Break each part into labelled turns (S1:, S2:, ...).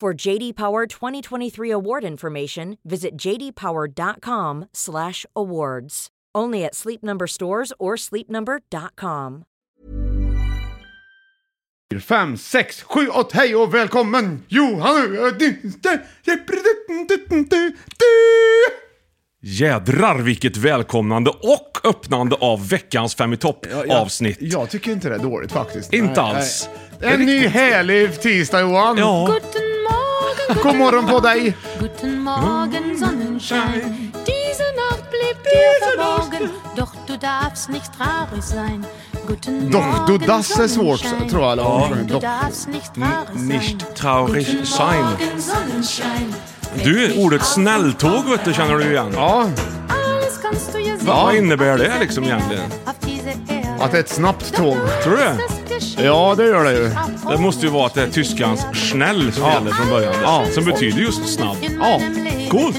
S1: For JD Power 2023 award information, visit jdpower.com/awards. Only at Sleep Number stores or sleepnumber.com.
S2: 5, 6, 7, 8, hej och välkommen Johan! Eh,
S3: Jädrar vilket välkomnande och öppnande av veckans Fem i topp-avsnitt.
S2: Jag, jag tycker inte det är dåligt faktiskt.
S3: Inte alls.
S2: Nej. En ny härlig tisdag Johan!
S3: Ja,
S4: Guten Morgen,
S2: God morgon på dig! Mm.
S4: guten Morgen, Sonnenschein. Diese Nacht blieb dir verborgen, doch du darfst nicht traurig sein. Guten
S2: Doch, du
S4: Morgen,
S2: das är svårt,
S4: Sonnenschein.
S2: tror jag alla har sjungit.
S4: Du
S2: Doch.
S4: darfst nicht traurig sein.
S3: nicht traurig
S4: Guten
S3: sein.
S4: Morgen, Sonnenschein.
S3: du, ordet snälltåg vet du, känner du igen.
S2: Ja,
S4: Alles kannst du ja sehen.
S3: Vad innebär det liksom egentligen?
S4: Auf diese Erde.
S2: att det är ett snabbt tåg.
S3: Tror du det?
S2: Ja, det gör det ju.
S3: Det måste ju vara att det är tyskans schnell som gäller från början.
S2: Ja.
S3: Som betyder just snabb.
S2: Ja,
S3: coolt.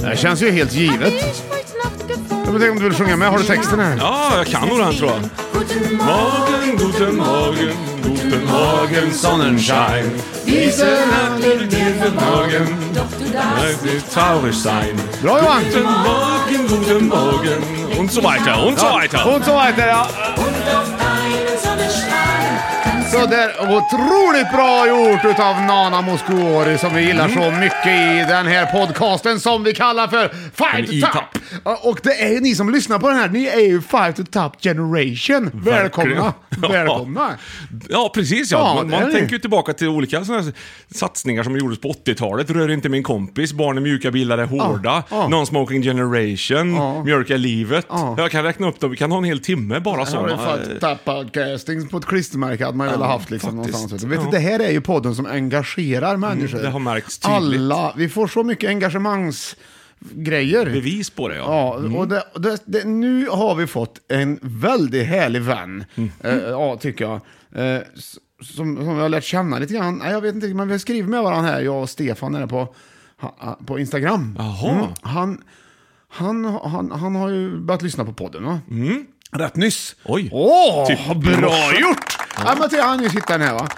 S2: Det här känns ju helt givet. Jag vill tänka om du vill sjunga med. Har du texten här?
S3: Ja, jag kan nog den tror jag. Eh,
S4: Guten
S3: Morgen, guten Morgen, guten Morgen Sonnenschein. Diese Nacht wird dir verborgen,
S4: Doch du darfst
S3: nicht traurig sein.
S2: Bra Johan!
S3: Guten Morgen, guten Morgen. Und so weiter, und so weiter.
S2: Och så heter jag.
S4: einen Sonnenstrahl.
S2: Sådär, otroligt bra gjort utav Nana Mouskouri som vi gillar så
S3: Mm.
S2: mycket i den här podcasten som vi kallar för Five
S3: En
S2: to Top!
S3: E-top.
S2: Ja, Och det är ju ni som lyssnar på den här, ni är ju Five to Top Generation. Välkomna!
S3: Ja.
S2: Välkomna!
S3: Ja, precis ja.
S2: Ja,
S3: Man,
S2: det är
S3: man
S2: det.
S3: tänker ju tillbaka till olika såna här satsningar som gjordes på 80-talet. Rör inte min kompis, barn i mjuka bilar är hårda,
S2: ja.
S3: Non-smoking generation,
S2: Ja.
S3: mjölk är livet.
S2: Ja.
S3: Jag kan räkna upp dem, vi kan ha en hel timme
S2: Här
S3: bara
S2: har
S3: sådana.
S2: vi Five to Top podcasting på ett klistermärke hade man ju velat haft liksom
S3: faktiskt.
S2: någonstans. Vet du,
S3: Ja. Mm,
S2: det här är ju podden som engagerar människor.
S3: det har märkts tydligt.
S2: Alla, vi får så mycket engagemangsgrejer.
S3: eh, Bevis på det ja.
S2: Ja, och det, och det, det, nu har vi fått en väldigt härlig vän,
S3: Mm.
S2: eh, ja, tycker jag. Eh, s- som, som jag har lärt känna lite grann. Nej, jag vet inte, men vi har skrivit med varandra här, jag och Stefan är det på, ha, på Instagram. Mm.
S3: Jaha.
S2: Han, han, han, han har ju börjat lyssna på podden, va? Rätt nyss.
S3: Mm. Oj.
S2: Åh,
S3: Typ i
S2: bra
S3: morse.
S2: gjort! Ja. Ja, men till, han har nyss hittat den här, va?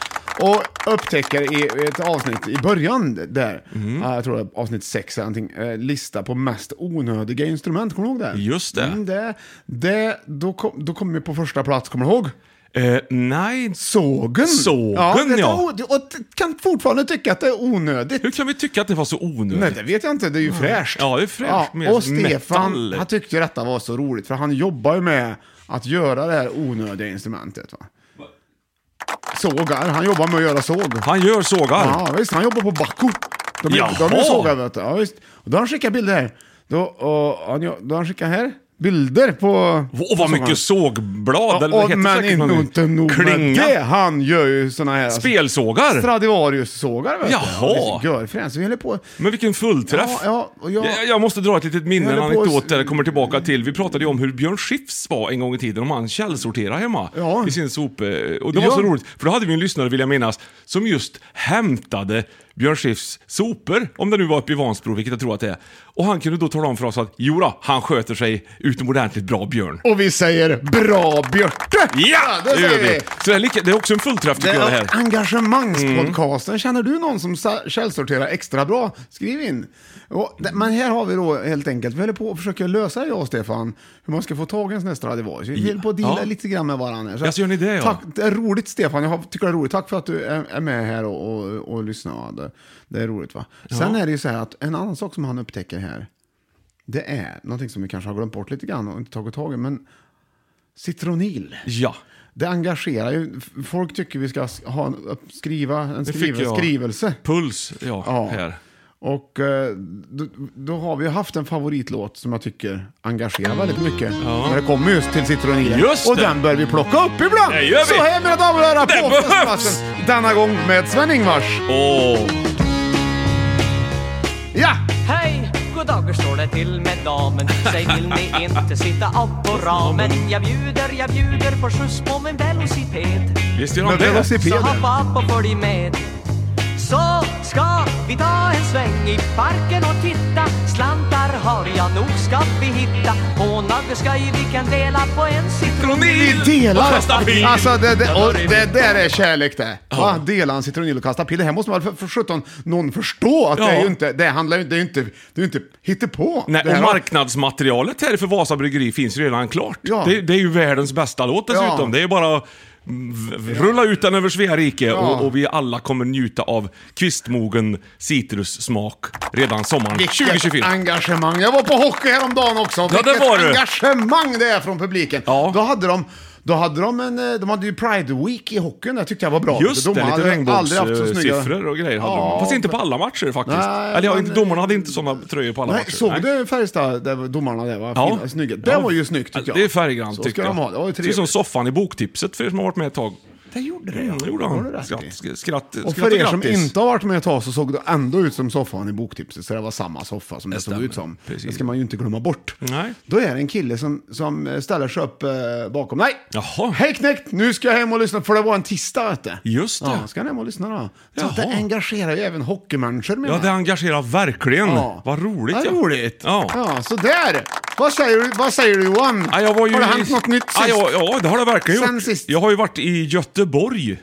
S2: Och upptäcker i ett avsnitt i början där,
S3: Mm.
S2: eh, jag tror det är avsnitt 6 eller någonting, eh, lista på mest onödiga instrument, kommer du ihåg det?
S3: Just det.
S2: Mm, det, det då kom då kom vi på första plats, kommer du ihåg?
S3: Eh, nej,
S2: Sågen!
S3: Sågen,
S2: det,
S3: ja.
S2: Och, och t- kan fortfarande tycka att det är onödigt.
S3: hur kan vi tycka att det var så onödigt?
S2: Nej, det vet jag inte. Det är ju fräscht.
S3: Ja, det är fräscht. Mer
S2: och Stefan,
S3: metal.
S2: han tyckte ju detta var så roligt, för han jobbar ju med att göra det här onödiga instrumentet. Va? Sågar. Han jobbar med att göra såg.
S3: Han gör sågar.
S2: Ja, visst. Han jobbar på Bahco. De, är-
S3: Jaha.
S2: de är sågar, vet du. Ja, visst. Och då har han skickat bilder här. Då, och, han- då har han skickat här. Bilder på...
S3: Åh, vad mycket sågblad,
S2: Ja,
S3: eller vad
S2: och,
S3: heter
S2: men
S3: säkert
S2: inte,
S3: någon-
S2: inte nog
S3: Klinga.
S2: med det. Han gör ju såna här...
S3: Spelsågar?
S2: Stradivarius-sågar, vet
S3: Jaha.
S2: du. Görfränt. Så vi håller på...
S3: Men vilken fullträff!
S2: Ja, ja, och jag-
S3: jag, jag måste dra ett litet minne, en
S2: Jag höll på
S3: anekdot
S2: att-
S3: där jag kommer tillbaka till. Vi pratade ju om hur Björn Skifs var en gång i tiden, om han källsorterade hemma
S2: Ja.
S3: i sin sop. eh, Och det var
S2: Ja.
S3: så roligt, för då hade vi en lyssnare, vill jag minnas, som just hämtade Björn Skifs sopor, om det nu var uppe i Vansbro, vilket jag tror att det är. Och han kunde då tala om för oss att jodå, han sköter sig utomordentligt bra, Björn.
S2: Och vi säger bra Björte!
S3: Ja,
S2: det säger vi.
S3: Så det är, lika, det är också en fullträff
S2: Det
S3: tycker jag det här.
S2: är engagemangspodcasten.
S3: Mm.
S2: Känner du någon som sa- källsorterar extra bra? Skriv in. Och, det- men här har vi då helt enkelt, vi håller på och försöker lösa, jag och Stefan, hur man ska få tag i en sån här Stradivarius. Vi håller på att deala
S3: Ja.
S2: lite grann med varandra.
S3: Ja, så gör ni det, ja.
S2: Tack, det är roligt Stefan, jag har- tycker det är roligt. Tack för att du är är med här och, och, och lyssnar. Det, det är roligt va. Sen är det ju så här att en annan sak som han upptäcker här, det är någonting som vi kanske har glömt bort lite grann och inte tagit tag i, men citronil.
S3: Ja.
S2: Det engagerar ju. F- Folk tycker vi ska s- ha en, upp- skriva en
S3: fick
S2: skrive,
S3: jag.
S2: skrivelse.
S3: Puls, ja,
S2: Ja.
S3: här.
S2: Och eh, då, då har vi haft en favoritlåt som jag tycker engagerar väldigt mycket. När det kommer just till citronilen.
S3: Just
S2: och
S3: det.
S2: den bör vi plocka upp ibland.
S3: Det gör vi.
S2: Så här mina damer och herrar,
S3: Det
S2: på
S3: behövs.
S2: Festplatsen. Denna gång med Sven-Ingvars.
S3: Åh!
S5: till med damen Säg vill ni inte sitta upp på ramen Jag bjuder, jag bjuder på skjuts på min velociped
S3: Visst gör de
S2: Men
S3: det?
S5: Så
S2: velocipeder.
S5: hoppa upp och följ med Så ska vi ta en sväng i parken och titta Slantar har jag nog ska vi hitta På något skoj vi kan dela på en
S2: Vi
S5: citronil
S3: Och
S2: delar!
S3: kastar pil.
S2: Alltså det, det, och det där är kärlek det! Va? Dela en citronill och kasta pil. Det här måste väl för, för sjutton någon förstå att det är
S3: Ja.
S2: ju inte, det handlar ju inte, det är ju inte, det är ju inte hittepå.
S3: Nej,
S2: det här
S3: och
S2: har-
S3: marknadsmaterialet här för Vasa Bryggeri finns ju redan klart.
S2: Ja.
S3: Det, det är ju världens bästa låt dessutom.
S2: Ja.
S3: Det är ju bara att v- rulla ut den över Svea rike och, och vi alla kommer njuta av kvistmogen citrussmak redan sommaren
S2: Vilket
S3: 2024.
S2: engagemang. Jag var på hockey häromdagen också.
S3: Ja, det var du.
S2: engagemang det är från publiken.
S3: Ja.
S2: Då hade de... Då hade de, en, eh, de hade ju Pride Week i hockeyn, det tyckte jag var bra.
S3: Just
S2: De
S3: det, lite
S2: hade aldrig haft så snygga-
S3: regnbågssiffror och grejer hade de. Fast inte på alla matcher faktiskt. Eller ja,
S2: men-
S3: inte, domarna hade inte sådana tröjor på alla
S2: Nej,
S3: matcher.
S2: såg du Färjestad, där domarna där var
S3: Ja.
S2: fina, snygga? Det
S3: Ja.
S2: var ju snyggt tycker jag.
S3: Det är färggrant
S2: Så
S3: tycker
S2: ska
S3: jag.
S2: de ha, det var ju
S3: är som
S2: trevligt.
S3: soffan i boktipset för er som har varit med ett tag.
S2: Det gjorde det
S3: Mm, det gjorde
S2: Har du
S3: han.
S2: rätt
S3: Skratt,
S2: i.
S3: skratt, skratt
S2: Och för er som
S3: grattis.
S2: inte har varit med ett tag så såg det ändå ut som soffan i boktipset, så det var samma soffa som det, såg
S3: stämmer.
S2: ut som.
S3: Precis.
S2: Det ska man ju inte glömma bort.
S3: Nej.
S2: Då är det en kille som, som ställer sig upp eh, bakom. Nej!
S3: Jaha.
S2: Hej knekt, nu ska jag hem och lyssna, för det var en tisdag vet du.
S3: Just det.
S2: Ja, ska han hem och lyssna då. Så
S3: Jaha.
S2: att det engagerar ju även hockeymänniskor menar
S3: Ja, det
S2: jag.
S3: engagerar verkligen. Vad roligt
S2: Vad
S3: ja.
S2: roligt.
S3: Ja.
S2: ja, så där. Vad säger du, vad säger du Johan?
S3: Ja, jag var ju
S2: Har det
S3: i-
S2: hänt något nytt sist?
S3: Ja, ja, ja, det har det verkligen
S2: Sen
S3: gjort.
S2: sist.
S3: Jag har ju varit i Göteborg.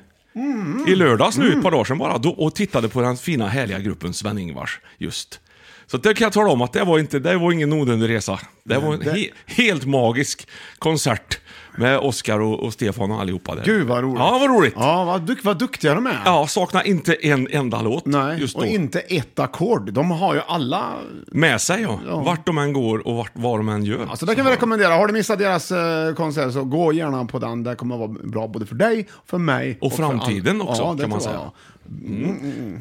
S3: I lördags nu, ett par dagar sedan bara, då, och tittade på den fina härliga gruppen Sven-Ingvars. Just. Så det kan jag tala om att det var, inte, det var ingen onödig resa. Det var en he, helt magisk konsert med Oscar och, och Stefan och allihopa där.
S2: Gud vad roligt.
S3: Ja, vad roligt. Ja,
S2: Ja, vad, duk- vad duktiga de är.
S3: sakna inte en enda låt
S2: Nej,
S3: just då.
S2: och inte ett ackord. De har ju alla...
S3: Med sig ja. Vart de än går och vart, vad de än gör.
S2: Alltså det kan vi rekommendera. Har du missat deras eh, konsert så gå gärna på den. Det kommer att vara bra både för dig, för mig
S3: Och framtiden
S2: för an-
S3: också,
S2: ja, det
S3: kan man
S2: tror jag.
S3: säga.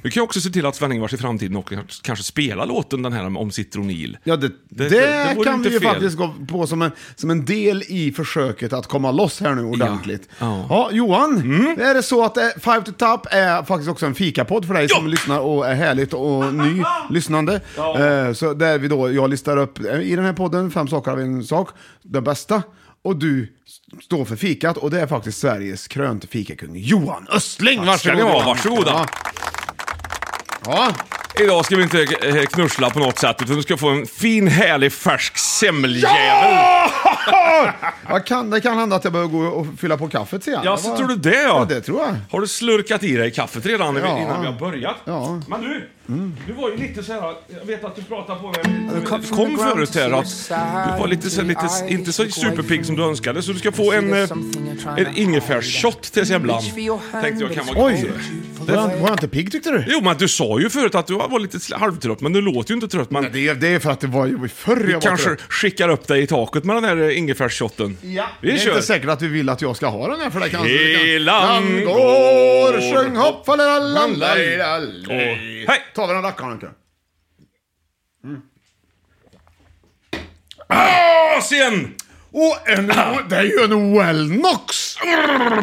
S3: Vi kan ju också se till att Sven-Ingvars i framtiden också kanske spelar låten den här om citronil.
S2: Ja, det, det,
S3: det- det vore
S2: kan
S3: inte
S2: vi ju
S3: fel.
S2: faktiskt gå på som en, som en del i försöket att komma loss här nu ordentligt.
S3: Ja. Mm.
S2: Johan, är det så att eh, Five to Top är faktiskt också en fikapodd för dig som lyssnar och är härligt och ny lyssnande. Eh, så där vi då, jag listar upp eh, i den här podden fem saker av en sak, den bästa. Och du s- står för fikat och det är faktiskt Sveriges krönte fikakung Johan Östling.
S3: Tack ska ni ha, varsågoda.
S2: Ja. ja.
S3: Idag ska vi inte eh, knussla på något sätt, utan du ska få en fin, härlig, färsk semmeljävel.
S2: Jag kan, det kan hända att jag behöver gå och fylla på kaffet sen.
S3: Ja,
S2: Det
S3: så
S2: var-
S3: tror du det ja?
S2: Ja, det tror jag.
S3: Har du slurkat i dig kaffet redan när vi-
S2: Ja.
S3: innan vi har börjat?
S2: Ja.
S3: Men du, du var ju lite så här. jag vet att du pratade på mig när
S6: Du
S3: vi
S6: kom från
S3: kom
S6: the ground
S3: förut här
S6: to
S3: att
S6: see the side,
S3: du var lite, så, här, lite
S6: the
S3: inte så
S6: eyes look away
S3: superpigg som du önskade, så du ska få
S6: See
S3: en,
S6: there's
S3: eh,
S6: something you're trying
S3: en
S6: to
S3: ingefärsshot till semlan.
S6: Reach for your hand,
S3: Tänkte jag kan
S6: but
S3: vara
S2: it's
S3: kul.
S2: cold. Var jag, var jag inte pigg tyckte du?
S3: Jo, men du sa ju förut att du var lite sl- halvtrött, men du låter ju inte trött. Men
S2: Det är, det är för att det var ju förr jag
S3: vi
S2: var
S3: kanske
S2: trött.
S3: skickar upp dig i taket med den här eh, ingefärsshotten.
S2: Ja,
S3: vi
S2: det är
S3: kör.
S2: inte säkert att vi vill att jag ska ha den här för det kanske
S3: Helan
S2: Den
S3: går,
S2: går, sjung hopp, fallerallan,
S3: Och, hej!
S2: Ta vi den rackaren inte.
S3: Asien!
S2: Och en,
S3: Ah.
S2: det är ju en Wellnox!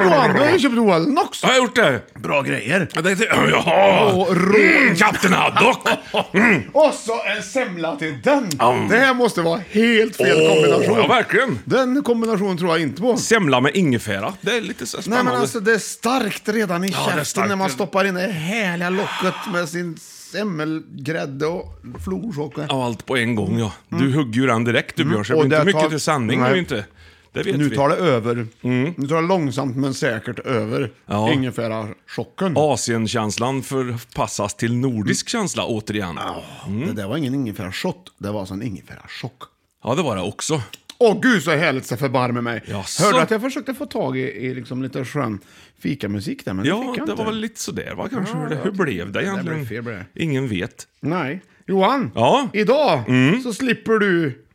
S2: Johan, du har ju typ köpt Wellnox.
S3: Jag har gjort det.
S2: Bra grejer.
S3: Ja, det, det, jaha!
S2: Och rå-
S3: Mm, Kapten Haddock! Mm.
S2: Och så en semla till den. Det här måste vara helt fel kombination.
S3: Ja, verkligen.
S2: Den kombinationen tror jag inte på.
S3: Semla med ingefära. Det är lite så
S2: Nej
S3: spännande.
S2: men alltså det är starkt redan i
S3: det är
S2: käften
S3: starkt.
S2: när man stoppar in det härliga locket med sin semmelgrädde och florsocker.
S3: Ja, allt på en gång ja. Du hugger ju den direkt du Björn, så det
S2: Mm. Och
S3: blir inte
S2: där
S3: mycket
S2: tar-
S3: till sanning
S2: Nej.
S3: nu inte. Det vet
S2: Nu
S3: vi. Mm.
S2: tar det över. Nu tar det långsamt men säkert över
S3: Ja.
S2: ingefära chocken.
S3: Asienkänslan förpassas till nordisk
S2: Mm.
S3: känsla återigen. Mm.
S2: Det där var ingen ingefära shot, det var alltså en ingefära chock.
S3: Ja, det var det också.
S2: Åh gud så härligt så förbarme mig.
S3: Jaså?
S2: Hörde du att jag försökte få tag i, i liksom lite skön fikamusik där men det
S3: Ja,
S2: fick jag
S3: det
S2: inte.
S3: var väl lite sådär va kanske.
S2: Ja,
S3: Hur det-
S2: ja.
S3: Hur blev det
S2: Det
S3: egentligen?
S2: blev fel, blev det.
S3: Ingen vet.
S2: Nej. Johan,
S3: Ja? Mm.
S2: idag så slipper du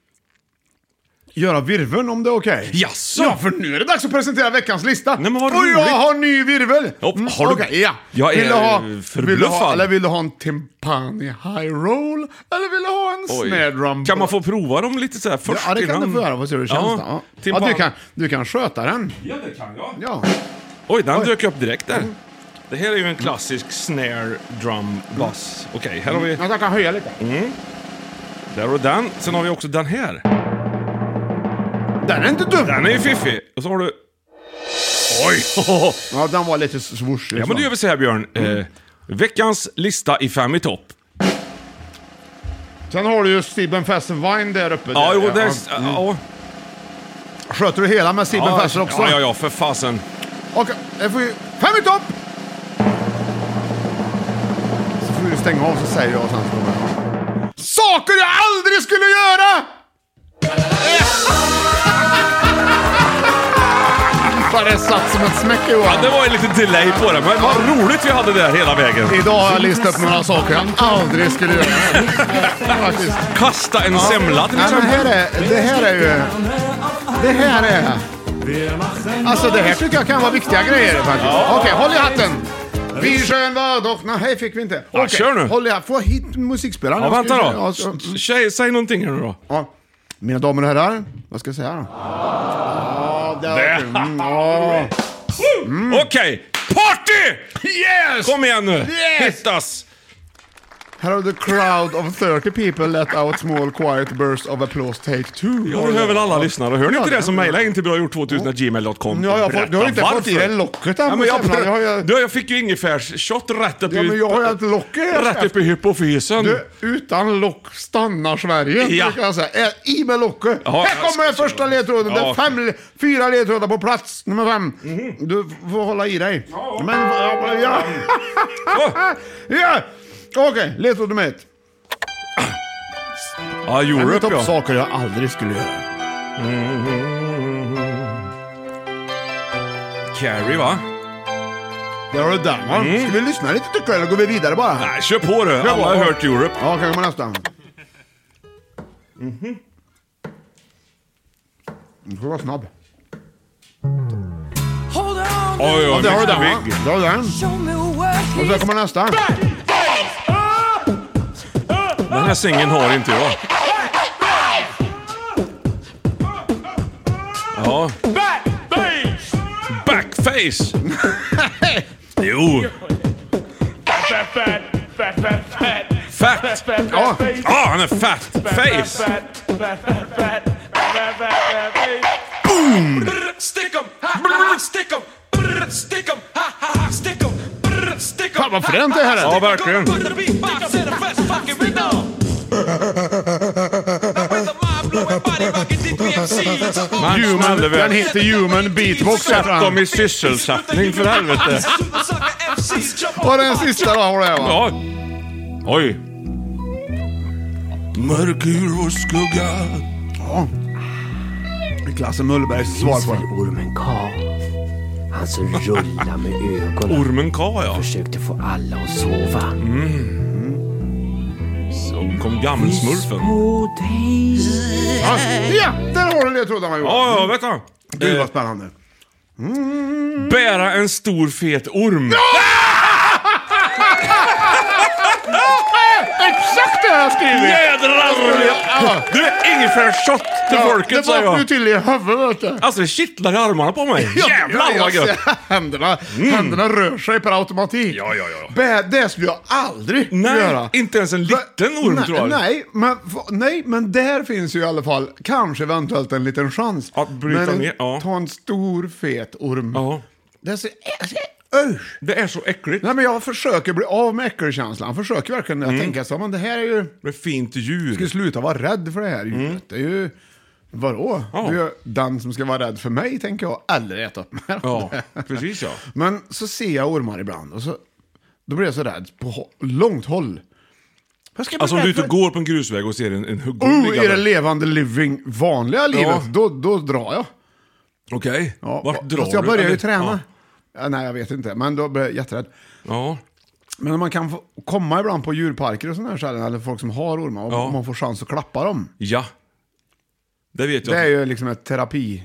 S2: göra virveln om det är okej.
S3: Jaså?
S2: Ja, för nu är det dags att presentera veckans lista.
S3: Nej, men vad
S2: Och jag
S3: roligt.
S2: har ny virvel! Mm,
S3: Hopp, har du-
S2: okej, ja.
S3: Jag är
S2: vill du ha,
S3: förbluffad.
S2: Vill du ha, eller vill du ha en timpani high roll? Eller vill du ha en
S3: Oj.
S2: snare drum?
S3: Kan man få prova dem lite så här först
S2: Ja, det kan
S3: innan?
S2: du få göra. Vad ser du? Känns
S3: Ja,
S2: det? ja.
S3: timpan-
S2: ja, du, kan, du kan sköta den.
S3: Ja, det kan jag.
S2: Ja.
S3: Oj, den dök upp direkt där. Det här är ju en
S2: Mm.
S3: klassisk snare, drum, bass. Okej, här har vi...
S2: Jag kan höja lite.
S3: Där och den. Sen har vi också den här.
S2: Den är inte dum!
S3: Den är ju fiffig. Och så har du... Oj!
S2: Ja, den var lite swoosh. liksom.
S3: Ja, men då gör vi så här, Björn.
S2: Mm.
S3: Eh, veckans lista i fem i topp.
S2: Sen har du ju Stibben Fessenwein där uppe.
S3: Ja,
S2: där,
S3: jo, det...
S2: Ja. Mm.
S3: Ja, ja,
S2: Sköter du hela med Stibben Fessen också?
S3: ja, ja, ja, för fasen.
S2: Och det får ju... Fem i topp! Så får du stänga av så säger jag sen. så kommer jag. Saker jag aldrig skulle göra! Fan, det satt som en smäck
S3: Ja, det
S2: Johan.
S3: var ju lite delay på det, men vad roligt vi hade där hela vägen.
S2: Idag har jag listat upp några saker jag aldrig skulle göra. Faktiskt.
S3: Kasta en semla till
S2: Nej, men
S3: exempel.
S2: här är, det här är ju... Det här är... Alltså det här tycker jag kan vara viktiga grejer faktiskt. Okej, håll i hatten. Vi skön var dock... Nej, här fick vi inte. Okej,
S3: kör nu.
S2: Håll i hatten. Få hit musikspelaren.
S3: Ja, vänta
S2: Ja,
S3: då.
S2: så-
S3: Tjej, säg någonting här nu då.
S2: ja. Mina damer och herrar, vad ska jag säga då? Ja, där var kul. Mm, ja. Mm.
S3: Okej! Party! Yes! Kom igen nu!
S2: Yes!
S3: Hittas!
S2: Här har du crowd of 30 people let out small quiet burst of applause take two.
S3: Jag hör väl alla lyssnare. Hör ni inte
S2: Ja,
S3: det som
S2: ja.
S3: mejlar in till bragjort2000gmail.com?
S2: Ja, jag har fått-
S3: Berätta
S2: du har inte fått
S3: varför.
S2: i dig locket än
S3: Ja,
S2: på
S3: men jag,
S2: semlan. Jag har ju-
S3: du, jag fick ju ingefärsshot rätt upp
S2: Ja, men jag har ju ett lock i här.
S3: Rätt upp i hypofysen.
S2: Du, utan lock stannar Sverige,
S3: Ja.
S2: brukar jag säga. Ä- I med locket.
S3: Ja,
S2: här
S3: jag
S2: kommer den
S3: ska-
S2: första ledtråden. Det
S3: Ja. Mhm.
S2: är fem, fyra ledtrådar på plats nummer fem. Du f- får hålla i dig. Men, ja, ja.
S3: Åh!
S2: ja. Okej, ledtråd nummer ett.
S3: Ja,
S2: Jag
S3: Europe
S2: upp
S3: ja.
S2: saker jag aldrig skulle göra.
S3: Carrie va?
S2: Där har du den va?
S3: Mm.
S2: Ska vi lyssna lite tycker du, eller går vi vidare bara?
S3: Nej, kör på du.
S2: på.
S3: Alla har hört Europe.
S2: Ja, okej, kommer nästa.
S3: Mhm.
S2: Du får vara snabb.
S3: Oj, oj,
S2: Där har du
S3: Mr.
S2: den va?
S3: Big.
S2: Där har du den. Och så kommer nästa.
S3: Den här singeln har inte jag. Ja. Backface! Jo! Fat!
S2: Ja.
S3: Ja, han är fat! Face!
S2: Fan vad fränt det här är.
S3: Ja, verkligen. Man
S2: Human,
S3: smällde
S2: den
S3: väl.
S2: heter Human Beatbox här
S3: Sätt dem
S2: fram.
S3: i sysselsättning för helvete.
S2: Och den sista då har du här va?
S3: Ja. Oj. Mörker och skugga.
S2: Klasse Mullbergs svar på den.
S6: Ormen K. Han som rullade Alltså, med ögonen.
S3: Ormen K ja.
S6: Försökte få alla att sova.
S3: Så kom gammelsmurfen.
S6: Åh, dig.
S2: Ja, ja, där har du ledtrådarna Johan.
S3: Ja, ja, vänta.
S2: Gud vad spännande.
S3: Bära en stor fet orm.
S2: Exakt det har jag skrivit! Ja.
S3: Jädrar! Du är ingefärsshot till folket
S2: det
S3: säger
S2: var ju
S3: jag.
S2: till i huvudet vet du.
S3: Alltså det kittlar i armarna på mig. Jävlar vad
S2: jag
S3: gött!
S2: ser Händerna, händerna rör sig per automatik.
S3: Ja, ja, ja.
S2: Bä- Det skulle jag aldrig
S3: Nej,
S2: göra.
S3: inte ens en liten orm
S2: nej,
S3: tror jag.
S2: Nej men, f- nej, men där finns ju i alla fall kanske eventuellt en liten chans.
S3: Att bryta
S2: men en-
S3: ner, ja.
S2: ta en stor fet orm.
S3: Ja.
S2: Det är så... Usch!
S3: Det är så äckligt.
S2: Nej men jag försöker bli av med äckelkänslan. Försöker verkligen.
S3: Mm.
S2: Jag tänker så, men det här är ju...
S3: Med fint
S2: Jag ska
S3: djur.
S2: sluta vara rädd för det här djuret. Det är ju... Vadå?
S3: Mm. Ja.
S2: Det är ju den som ska vara rädd för mig, tänker jag. Eller äta upp mig.
S3: Ja, precis ja.
S2: Men så ser jag ormar ibland och så... Då blir jag så rädd på hå- långt håll. Vad ska jag bli
S3: Alltså om
S2: rädd
S3: du ute
S2: för?
S3: och går på en grusväg och ser en, en huggorm
S2: Oh, är det
S3: liggande.
S2: levande living, vanliga livet,
S3: Ja.
S2: då, då drar jag.
S3: Okej,
S2: Ja,
S3: vart drar
S2: fast jag
S3: du?
S2: börjar ju
S3: Eller-
S2: träna. Ja, nej, jag vet inte, men då blir jag jätterädd.
S3: Ja.
S2: Men om man kan få komma ibland på djurparker och sådana här ställen, eller folk som har ormar, och
S3: Ja.
S2: man får chans att klappa dem.
S3: Ja. Det vet jag.
S2: Det är ju liksom ett terapi.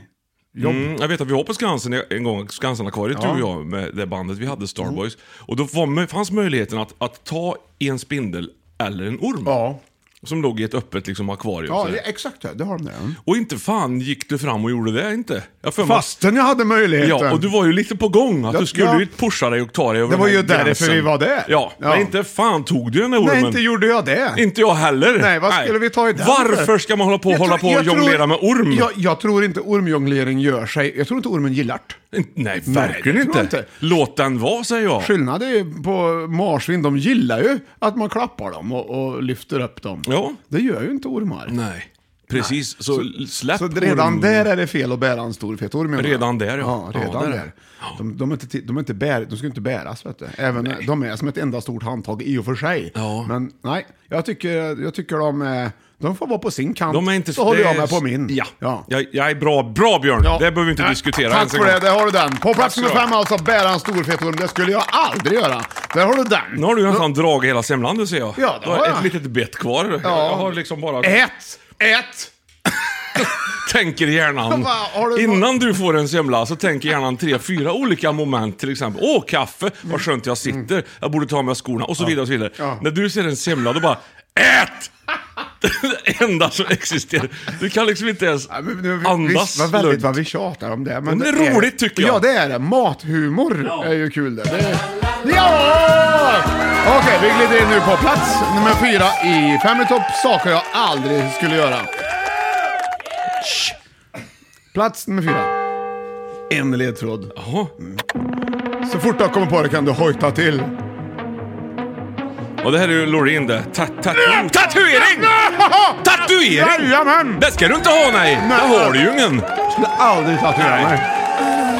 S3: Mm, jag vet att vi var på Skansen en gång, Skansenakvariet
S2: Ja. Mm.
S3: du och jag, med det bandet vi hade, Starboys. Och då var, fanns möjligheten att, att ta en spindel eller en orm.
S2: Ja.
S3: Som låg i ett öppet liksom, akvarium.
S2: Ja,
S3: sådär.
S2: det- exakt det. Det har de där. Mm.
S3: Och inte fan gick du fram och gjorde det inte. Jag för mig-
S2: Fastän jag hade möjligheten.
S3: Ja, och du var ju lite på gång. Att
S2: Ja,
S3: du skulle
S2: ja.
S3: ju pusha dig och ta dig över
S2: Det
S3: den
S2: var
S3: här
S2: ju därför
S3: gränsen.
S2: vi var där.
S3: Ja,
S2: Ja.
S3: men inte fan tog du den där ormen.
S2: Nej, inte gjorde jag det.
S3: Inte jag heller.
S2: Nej, vad skulle vi ta i den
S3: Varför
S2: för?
S3: ska man hålla på och
S2: Jag
S3: hålla
S2: tror-
S3: på och
S2: jag tror-
S3: jonglera med orm?
S2: Jag, jag tror inte ormjonglering gör sig. Jag tror inte ormen gillar det.
S3: Nej,
S2: det tror
S3: verkligen
S2: jag
S3: inte.
S2: inte.
S3: Låt den vara, säger jag.
S2: Skillnad är ju på marsvin, de gillar ju att man klappar dem och, och lyfter upp dem.
S3: Ja.
S2: Det gör ju inte ormar.
S3: Nej, precis. Så, släpp
S2: Så redan
S3: ormen.
S2: där är det fel att bära en stor fet orm. menar jag.
S3: Redan där, ja.
S2: ja.
S3: Ja,
S2: redan
S3: där är
S2: där. De, de, är inte, ti- de, är inte bär, de ska inte bäras, vet du. Även, de är som ett enda stort handtag i och för sig.
S3: Ja.
S2: Men nej, jag tycker, jag tycker de, är- de får vara på sin kant.
S3: De är inte...
S2: så håller
S3: det är-
S2: jag med på min.
S3: Ja. Jag, jag är bra. Bra, Björn.
S2: Ja.
S3: Det behöver vi inte
S2: Ja,
S3: diskutera
S2: Tack
S3: ens en
S2: för
S3: gång.
S2: det, där har du den. På plats
S3: ska
S2: nummer
S3: du ha.
S2: fem alltså, bära en stor fet orm. Det skulle jag aldrig göra. Där har du den.
S3: Nu har du ju nästan dragit hela semlan du ser jag.
S2: Ja, det
S3: du har
S2: har
S3: ett
S2: jag.
S3: litet bett kvar.
S2: Ja.
S3: Jag har liksom bara...
S2: Ät! Ät!
S3: tänker hjärnan.
S2: Vad har du-
S3: Innan du får en semla så tänker hjärnan tre, fyra olika moment. Till exempel, åh kaffe, vad skönt jag sitter, jag borde ta med skorna och så vidare. Och så vidare.
S2: Mm. Ja.
S3: När du ser en semla, då bara ÄT! det enda som existerar. Du kan liksom inte ens
S2: Ja, men nu-
S3: andas
S2: visst, vad väldigt
S3: lugnt.
S2: vad vi tjatar om det. Men
S3: det är roligt, tycker jag.
S2: Ja, det är det. Mathumor är ju kul det. det är... Ja! Okej, vi glider in nu på plats nummer fyra i Fem i topp, saker jag aldrig skulle göra. Shh. Plats nummer fyra. En ledtråd.
S3: Jaha.
S2: Så fort jag kommer på det kan du hojta till.
S3: Mm, Och det här är ju Loreen det. Ta ta tatuering! Tatuering!
S2: Jajamän!
S3: Det ska du inte ha nej! Det har du ju ingen.
S2: Jag skulle aldrig tatuera mig.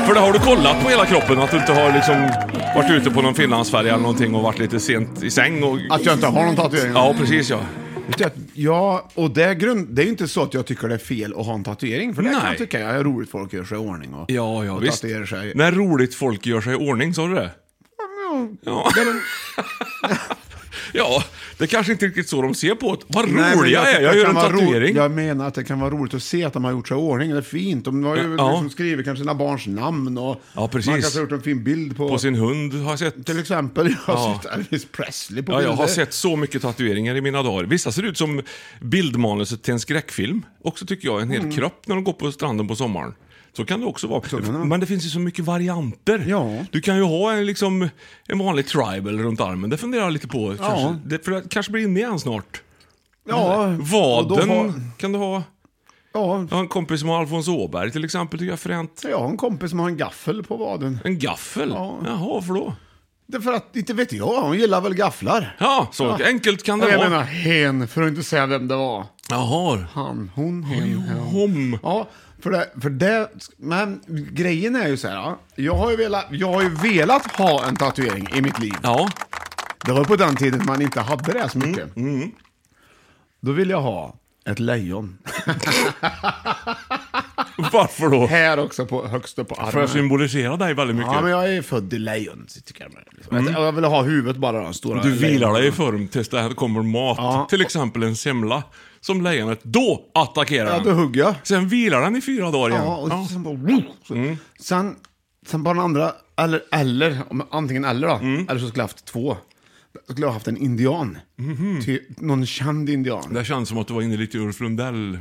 S3: För det har du kollat på hela kroppen, att du inte har liksom varit ute på någon finlandsfärja eller någonting och varit lite sent i säng och...
S2: Att jag inte har någon tatuering?
S3: Ja, precis ja.
S2: Vet du att- Ja, och det är, grund, det är ju inte så att jag tycker det är fel att ha en tatuering. För det kan
S3: Nej.
S2: jag tycka jag är roligt folk gör sig i ordning och,
S3: Ja, ja
S2: och
S3: visst.
S2: tatuerar sig.
S3: När roligt folk gör sig i ordning, sa du det? Ja. ja, det är kanske inte riktigt så de ser på det. Vad
S2: Nej, men
S3: roliga jag,
S2: tycker
S3: är,
S2: det
S3: jag gör
S2: kan
S3: en
S2: vara ro-
S3: tatuering.
S2: Jag menar att det kan vara roligt att se att de har gjort sig i ordning. Det är fint. De har ju
S3: Ja.
S2: liksom skrivit kanske sina barns namn och
S3: Ja, precis.
S2: man kanske har gjort en fin bild på...
S3: På sin hund har jag sett.
S2: Till exempel, jag har
S3: Ja.
S2: sett Elvis Presley på
S3: Ja, jag har
S2: bilder.
S3: sett så mycket tatueringar i mina dagar. Vissa ser ut som bildmanuset till en skräckfilm. Också tycker jag, en hel
S2: Mm.
S3: kropp när de går på stranden på sommaren. Så kan det också vara. Men det finns ju så mycket varianter.
S2: Ja.
S3: Du kan ju ha en, liksom, en vanlig tribal runt armen. Det funderar jag lite på. Kanske, det, för det kanske blir inne igen snart.
S2: Ja, och då
S3: Vaden
S2: har-
S3: kan du ha.
S2: Ja,
S3: Jag har en kompis som har Alfons Åberg till exempel, tycker jag är fränt.
S2: jag har en kompis som har en gaffel på vaden.
S3: En gaffel?
S2: Ja.
S3: Jaha, varför då?
S2: Därför att, inte vet jag, hon gillar väl gafflar.
S3: Ja, så enkelt kan det
S2: jag
S3: vara.
S2: menar hen, för att inte säga vem det var.
S3: Jaha.
S2: Han, hon, hen, hen.
S3: Hom.
S2: Ja, för det, för det, men grejen är ju så här. ja. Jag har ju, velat, jag har ju velat ha en tatuering i mitt liv.
S3: Ja.
S2: Det var på den tiden man inte hade det så mycket. Då ville jag ha ett lejon.
S3: Varför då?
S2: Här också, på, högst upp på armen.
S3: För jag symbolisera dig väldigt mycket.
S2: Ja, men jag är född i lejon, så tycker jag. Liksom. Jag- Jag vill ha huvudet bara, den stora
S3: Du vilar
S2: lejonen.
S3: dig i form tills det här kommer mat.
S2: Ja.
S3: Till exempel en semla. Som lejonet. Då
S2: Ja,
S3: attackerar
S2: då
S3: den.
S2: hugger jag.
S3: Sen vilar den i fyra dagar igen.
S2: Ja, och
S3: Ja. Mm.
S2: sen bara... Så. Sen, sen bara den andra, eller, eller om- antingen eller då,
S3: Mm.
S2: eller så skulle jag haft två. Då skulle jag haft en indian.
S3: Mhm.
S2: Ty, någon känd indian.
S3: Det känns som att du var inne lite i Ulf Lundell.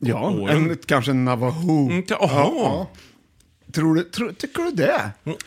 S2: Ja,
S3: åren.
S2: en, kanske en navajo.
S3: Mm, Jaha.
S2: Ja. Tror du, tror, tycker du det?
S3: Mm.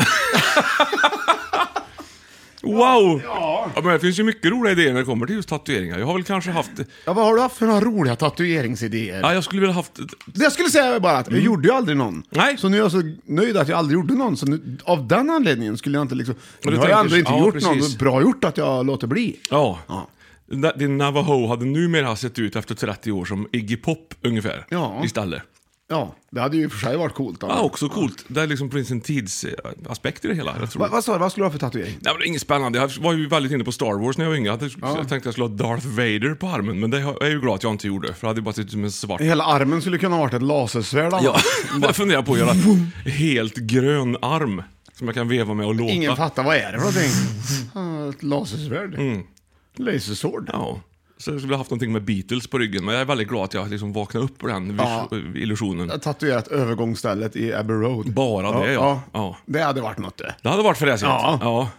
S3: Wow! Ja. men det finns ju mycket roliga idéer när det kommer till just tatueringar. Jag har väl kanske haft...
S2: Ja, vad har du haft för några roliga tatueringsidéer?
S3: Ja, jag skulle vilja haft...
S2: Det jag skulle säga är bara att jag gjorde ju aldrig någon.
S3: Nej.
S2: Så nu är jag så nöjd att jag aldrig gjorde någon. Så nu, av den anledningen skulle jag inte liksom... Nu har
S3: tänker-
S2: jag ändå inte
S3: ja,
S2: gjort någon.
S3: precis.
S2: Bra gjort att jag låter bli.
S3: Ja.
S2: Ja.
S3: Na- Din Navajo hade numera sett ut efter 30 år som Iggy Pop ungefär.
S2: Ja.
S3: Istället.
S2: Ja, det hade ju i och för sig varit coolt. då.
S3: Ja, också coolt. Det är liksom finns en tidsaspekt i det hela. Jag tror.
S2: Va, vad sa du? Vad skulle du ha för tatuering?
S3: Nej, men det är inget spännande. Jag var ju väldigt inne på Star Wars när jag var yngre. Jag hade- Jag tänkte jag skulle ha Darth Vader på armen, men det är jag ju glad att jag inte gjorde. För det hade ju bara sett ut som en svart...
S2: Hela armen skulle kunna ha varit ett lasersvärd. annars.
S3: Ja, jag funderar på att göra helt grön arm. Som jag kan veva med och låta.
S2: Ingen fattar, vad är det för någonting? Ja, Ett lasersvärd?
S3: Mm.
S2: Lasersword?
S3: Ja. Så jag skulle ha haft någonting med Beatles på ryggen, men jag är väldigt glad att jag liksom vaknade upp på den vis- illusionen.
S2: Jag har Tatuerat övergångsstället i Abbey Road.
S3: Bara det, ja. Ja.
S2: Det hade varit något det.
S3: Det hade varit fräsigt.
S2: Ja.
S3: ja.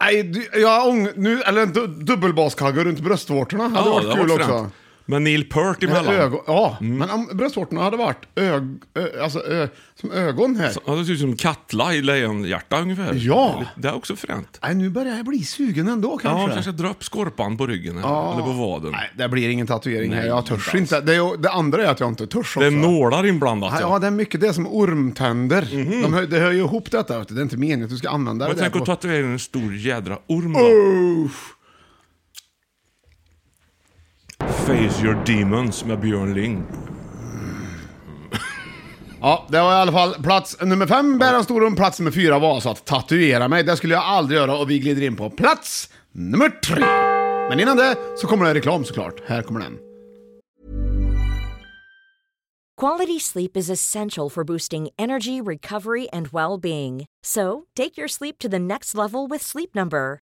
S2: Nej, du, jag ång... Nu, eller en du, dubbelbaskagge runt bröstvårtorna hade
S3: Ja,
S2: varit
S3: det hade
S2: kul
S3: varit
S2: också.
S3: fränt. Mm. Med Neil Peart
S2: Men
S3: emellan.
S2: ögon, ja, men om bröstvårtorna hade varit ög, ö, alltså, ö, som ögon här.
S3: Så- Ja, det ser ut som Katla i Lejonhjärta ungefär.
S2: Ja.
S3: Det är också fränt.
S2: Nej, nu börjar jag bli sugen ändå
S3: Ja,
S2: kanske.
S3: man kanske dra upp skorpan på ryggen eller, eller på vaden.
S2: Nej, det blir ingen tatuering här.
S3: Nej,
S2: Jag törs
S3: inte alls.
S2: inte. Det, är, ju- det andra är att jag inte törs också.
S3: Det är nålar inblandat.
S2: Ja,
S3: ja.
S2: ja, det är mycket det är som ormtänder.
S3: Mhm.
S2: De hör, det hör ju ihop detta. Vet du. Det är inte meningen att du ska använda
S3: Men
S2: det där
S3: tänk
S2: på...
S3: att tatuera en stor jädra orm då.
S2: Uff.
S3: Face your demons med Björn Ling.
S2: Ja, det var i alla fall plats nummer fem, bära en stor orm. Plats nummer fyra var så att tatuera mig. Det skulle jag aldrig göra och vi glider in på plats nummer tre. Men innan det så kommer det reklam såklart. Här kommer den.
S1: Quality sleep is essential for boosting energy, recovery, and well being. So, take your sleep to the next level with Sleep Number.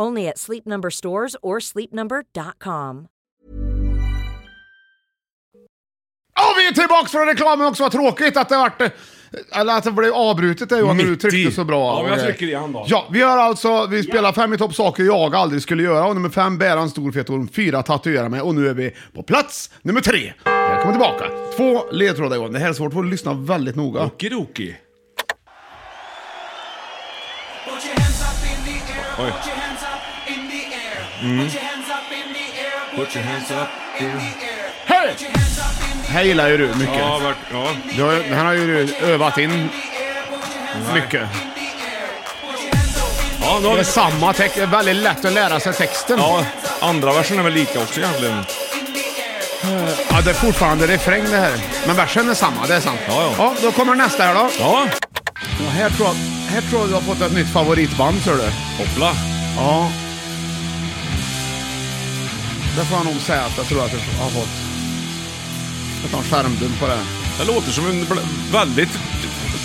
S1: Only at Sleep Number stores or sleepnumber.com.
S2: Ja, vi är tillbaka från reklamen också. Vad tråkigt att det vart... eh, Eller att det blev avbrutet där Johan, när du
S3: Mitt
S2: tryckte
S3: i.
S2: så bra.
S3: Ja, men jag
S2: Och, eh,
S3: trycker igen då.
S2: Ja, vi har alltså... Vi spelar fem i topp saker jag aldrig skulle göra. Och nummer fem, bära en stor fet orm. Fyra, tatuera mig. Och nu är vi på plats nummer tre. Välkommen tillbaka. Två ledtrådar Johan. Det här är svårt, för att lyssna väldigt noga.
S3: Okidoki.
S7: Put your hands up in the air.
S3: Oj.
S7: Put your hands up in the air. Put your hands up in the air. Mm-hmm. Put your hands up in the air.
S2: Hey!
S7: Put your hands up in the
S2: Här gillar ju du mycket.
S3: Ja, vart- ja.
S2: Du har, den här har ju du övat in
S7: air. Put your hands up
S2: mycket.
S7: in the air. Put your hands up in the
S3: Ja, nu har
S2: Det är
S3: vi...
S2: samma text. Det är väldigt lätt att lära sig texten.
S3: ja, andra versen är väl lika också egentligen.
S2: Ja, det är fortfarande refräng det här. Men versen är samma, det är sant.
S3: Ja, ja.
S2: ja då kommer nästa här då.
S3: Ja,
S2: Ja, här, tror jag, här tror jag du har fått ett nytt favoritband, ser du.
S3: hoppla.
S2: Ja. Det får jag nog säga att jag tror att jag har fått. Jag tar en skärmdump på det.
S3: Det låter som en bl- väldigt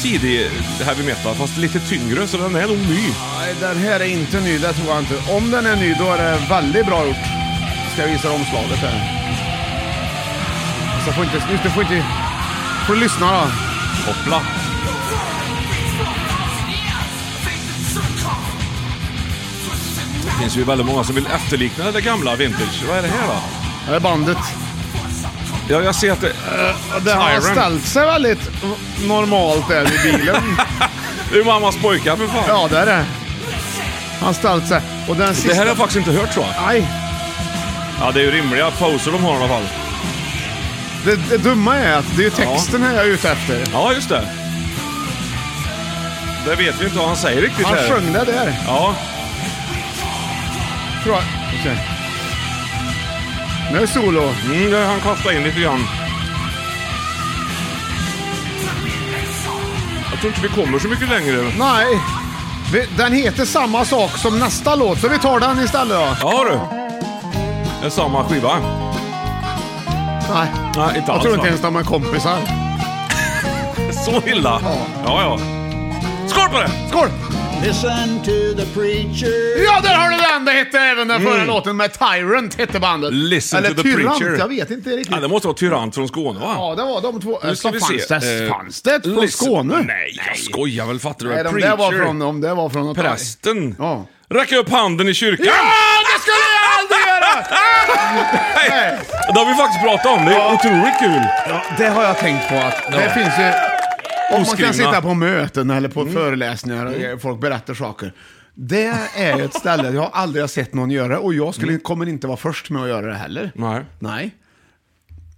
S3: tidig heavy metal, fast lite tyngre, så den är nog ny.
S2: Nej, den här är inte ny, det tror jag inte. Om den är ny, då är det väldigt bra gjort. Ska jag visa dig omslaget här. Så får inte... Just det, får inte... Får du lyssna då.
S3: Hoppla. Det finns ju väldigt många som vill efterlikna det gamla vintage. Vad är det här då?
S2: Här är bandet.
S3: Ja, jag ser att det...
S2: Det har
S3: Siren.
S2: ställt sig väldigt normalt där i bilen.
S3: Det är ju mammas pojkar för fan.
S2: Ja, det är det. Han ställt sig. Och den sista...
S3: Det här har jag faktiskt inte hört tror jag.
S2: Nej,
S3: Ja, det är ju rimliga poser de har i alla fall.
S2: det, det dumma är att det är ju texten här jag är ute efter.
S3: Ja, just det. Det vet vi inte vad han säger riktigt
S2: Han
S3: här.
S2: sjöng det där,
S3: Ja,
S2: tror jag. Okej. Nu är det solo.
S3: mm, det- han kastade in lite grann. Jag tror inte vi kommer så mycket längre.
S2: Nej. Vi- Den heter samma sak som nästa låt, så vi tar den istället då.
S3: Ja du. Det är samma skiva.
S2: Nej.
S3: Nej, inte
S2: Jag
S3: alls.
S2: tror
S3: va?
S2: inte ens de är kompisar.
S3: Så illa? Ja, ja. Skål på det!
S2: Skål!
S8: Listen to the preacher.
S2: Ja, där har du den! Det hette även den förra låten med Tyrant, hette bandet.
S3: Mm. Listen
S2: Eller
S3: to the
S2: Tyrant,
S3: Preacher.
S2: jag vet inte riktigt.
S3: Ja, det måste vara Tyrant från Skåne va?
S2: Ja, det var de två.
S3: Nu ska
S2: Så
S3: vi
S2: fanns,
S3: se.
S2: Det,
S3: Eh,
S2: fanns det ett från
S3: listen-
S2: Skåne?
S3: Nej, jag skojar väl. Fattar du?
S2: Nej, de där var från... De där var från något
S3: Prästen.
S2: Ja.
S3: Räcka upp handen i kyrkan!
S2: Ja, det skulle jag aldrig göra!
S3: Nej. Det har vi faktiskt pratat om. Det är otroligt kul.
S2: Det har jag tänkt på att det
S3: Ja.
S2: finns ju... Om man
S3: Oskrivna. Mm.
S2: kan sitta på möten eller på föreläsningar och folk berättar saker. Det är ju ett ställe jag aldrig har sett någon göra och jag skulle, kommer inte vara först med att göra det heller.
S3: Mm. Nej.
S2: Nej.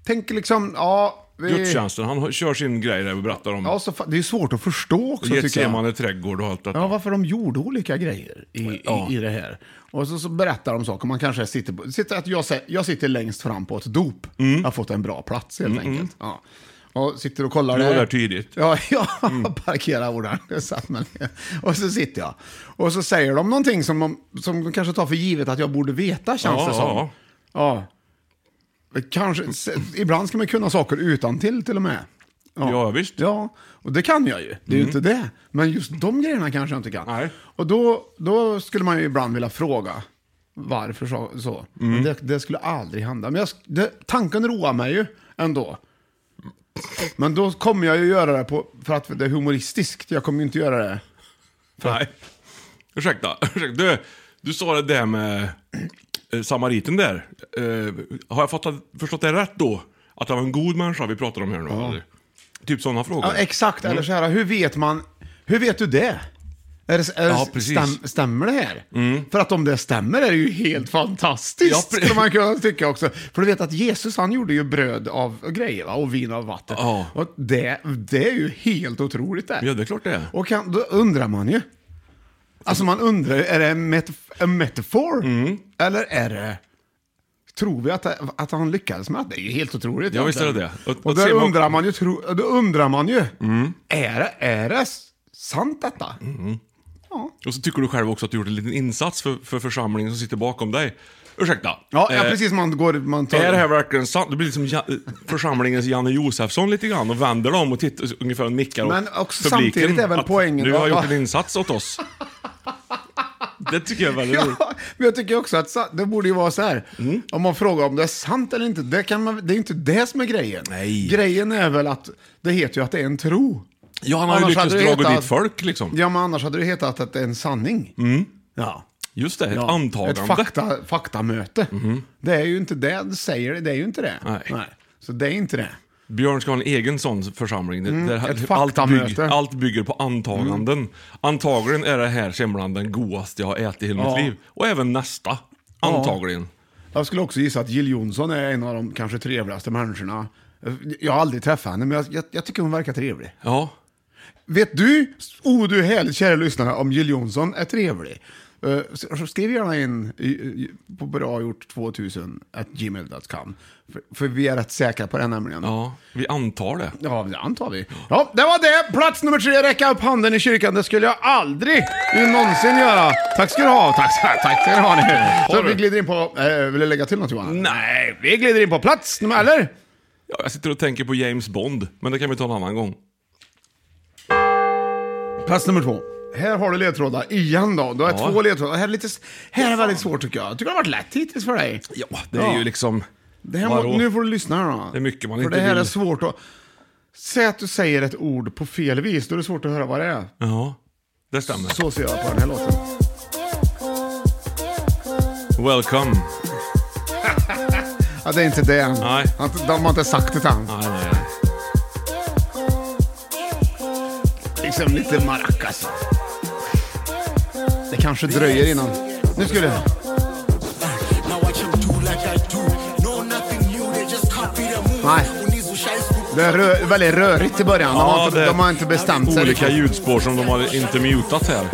S2: Tänk liksom, ja... Vi,
S3: Gudstjänsten, han har- kör sin grej där och berättar om
S2: ja så, fa- det är svårt att förstå också tycker jag.
S3: Getsemane trädgård och allt detta.
S2: Ja, varför de gjorde olika grejer i,
S3: Ja.
S2: i, i det här. Och så, så berättar de saker. Man kanske sitter på... Sitter att jag, sä- jag sitter längst fram på ett dop.
S3: Mm.
S2: Jag har fått en bra plats helt enkelt. Ja. Och sitter och kollar
S3: Du var
S2: där.
S3: där tidigt.
S2: Ja, jag
S3: Mm.
S2: parkerar ordentligt. Satt man ner. Och så sitter jag. Och så säger de någonting som de, som de kanske tar för givet att jag borde veta, känns
S3: Ja,
S2: det som.
S3: ja.
S2: Ja. Kanske, s- ibland ska man kunna saker utan till till och med.
S3: Ja, visst.
S2: Ja, och det kan jag ju. Det är ju inte det. Men just de grejerna kanske jag inte kan.
S3: Nej.
S2: Och då, då skulle man ju ibland vilja fråga varför så. så. Men Det, det skulle aldrig hända. Men jag, sk- det, tanken roar mig ju ändå. Men då kommer jag ju göra det på, för att det är humoristiskt. Jag kommer ju inte göra det.
S3: Nej. Ursäkta, ursäkta. Du, du sa det där med eh, samariten där. Eh, har jag fattat, förstått det rätt då? Att han var en god människa vi pratar om här nu? eller? Typ sådana frågor?
S2: Ja, exakt, eller
S3: Mm.
S2: så här, hur vet man, hur vet du det? Är det, är
S3: Ja,
S2: det
S3: precis. Mm.
S2: stäm, stämmer det här? För att om det stämmer är det ju helt
S3: Ja,
S2: fantastiskt,
S3: pre-
S2: skulle man kunna tycka också. För du vet att Jesus, han gjorde ju bröd av grejer va? och vin av vatten.
S3: Ja.
S2: Och det, det är ju helt otroligt det.
S3: Ja, det är klart det är.
S2: Och kan, då undrar man ju. Alltså man undrar, är det en, metaf- en metafor?
S3: Mm.
S2: Eller är det... Tror vi att, att han lyckades med det? Det är ju helt otroligt.
S3: Ja, visst är det
S2: egentligen.
S3: det. Och-
S2: Och,
S3: och Mm.
S2: då,
S3: ser man-
S2: undrar man ju, tro, då undrar man ju, är, det, är det sant detta?
S3: Mm. Och så tycker du själv också att du gjort en liten insats för, för församlingen som sitter bakom dig. Ursäkta.
S2: Ja, ja,
S3: Eh,
S2: precis. Man går... Man tar,
S3: Är det här verkligen sant? Det blir liksom ja, eh, församlingens Janne Josefsson lite grann och vänder dem och tittar, ungefär och nickar
S2: Men
S3: åt
S2: också
S3: publiken
S2: samtidigt är väl
S3: att
S2: poängen-
S3: Du har
S2: Ja.
S3: gjort en insats åt oss. Det tycker jag är väldigt roligt.
S2: Ja, men jag tycker också att sa- det borde ju vara så här.
S3: Mm.
S2: Om man frågar om det är sant eller inte, det, kan man, det är inte det som är grejen.
S3: Nej.
S2: Grejen är väl att det heter ju att det är en tro.
S3: Ja, han har ju
S2: Annars
S3: lyckats
S2: hade det
S3: dra
S2: hetat-
S3: dit folk liksom.
S2: Ja, men annars hade det hetat att det är en sanning. Ja.
S3: Just det, Mm. ett
S2: ja.
S3: antagande. Mm.
S2: Ett fakta, faktamöte. Det är ju inte det det säger, det är ju inte det.
S3: Nej.
S2: Så det är inte det.
S3: Björn ska ha en egen sån församling. Det- där
S2: Mm, ett
S3: allt, bygg,
S2: faktamöte.
S3: allt bygger på antaganden. Antagligen är det här semlan den godaste jag har ätit i hela
S2: Ja.
S3: mitt liv. Och även nästa. Antagligen.
S2: Jag skulle också gissa att Jill Johnson är en av de kanske trevligaste människorna. Jag har aldrig träffat henne, men jag, jag, jag tycker hon verkar trevlig.
S3: Ja.
S2: Vet du, o du härligt kära lyssnare, om Jill Johnson är trevlig? Eh, så- så Skriv gärna in i- i- på bra gjort 2000 at gmail.com. För, för vi är rätt säkra på det nämligen.
S3: ja, vi antar det.
S2: Ja, det antar vi. Ja, det var det. Plats nummer tre, räcka upp handen i kyrkan. Det skulle jag aldrig någonsin göra. Tack ska du ha. Tack, tack ska ni ha. Ni. Så
S3: Har du?
S2: vi glider in på... Eh, vill du lägga till något Johan?
S3: Nej,
S2: Vi glider in på plats nummer... Eller?
S3: Ja, jag sitter och tänker på James Bond, men det kan vi ta en annan gång.
S2: Plats nummer två. Här har du ledtrådar igen då. Du har
S3: Ja.
S2: två ledtrådar. Här är, lite, s- här är väldigt svårt tycker jag. Jag tycker det har varit lätt hittills för dig.
S3: Ja, det är ju liksom...
S2: Det här
S3: Vadå?
S2: må, nu får du lyssna här då.
S3: Det är mycket man
S2: För
S3: inte
S2: det här
S3: vill.
S2: är svårt att... Säg att du säger ett ord på fel vis, då är det svårt att höra vad det är.
S3: Ja, det stämmer.
S2: Så ser jag på den här låten.
S3: Welcome.
S2: Ja, det är inte det än.
S3: Nej.
S2: Han- De har inte sagt det än.
S3: Nej, nej, nej.
S2: Liksom lite maracas. Det kanske dröjer innan... Nu skulle jag... Nej. Det är rö- väldigt rörigt i början. De, har inte,
S3: det-
S2: de har inte bestämt sig.
S3: Olika
S2: riktigt.
S3: ljudspår som de har inte mutat här.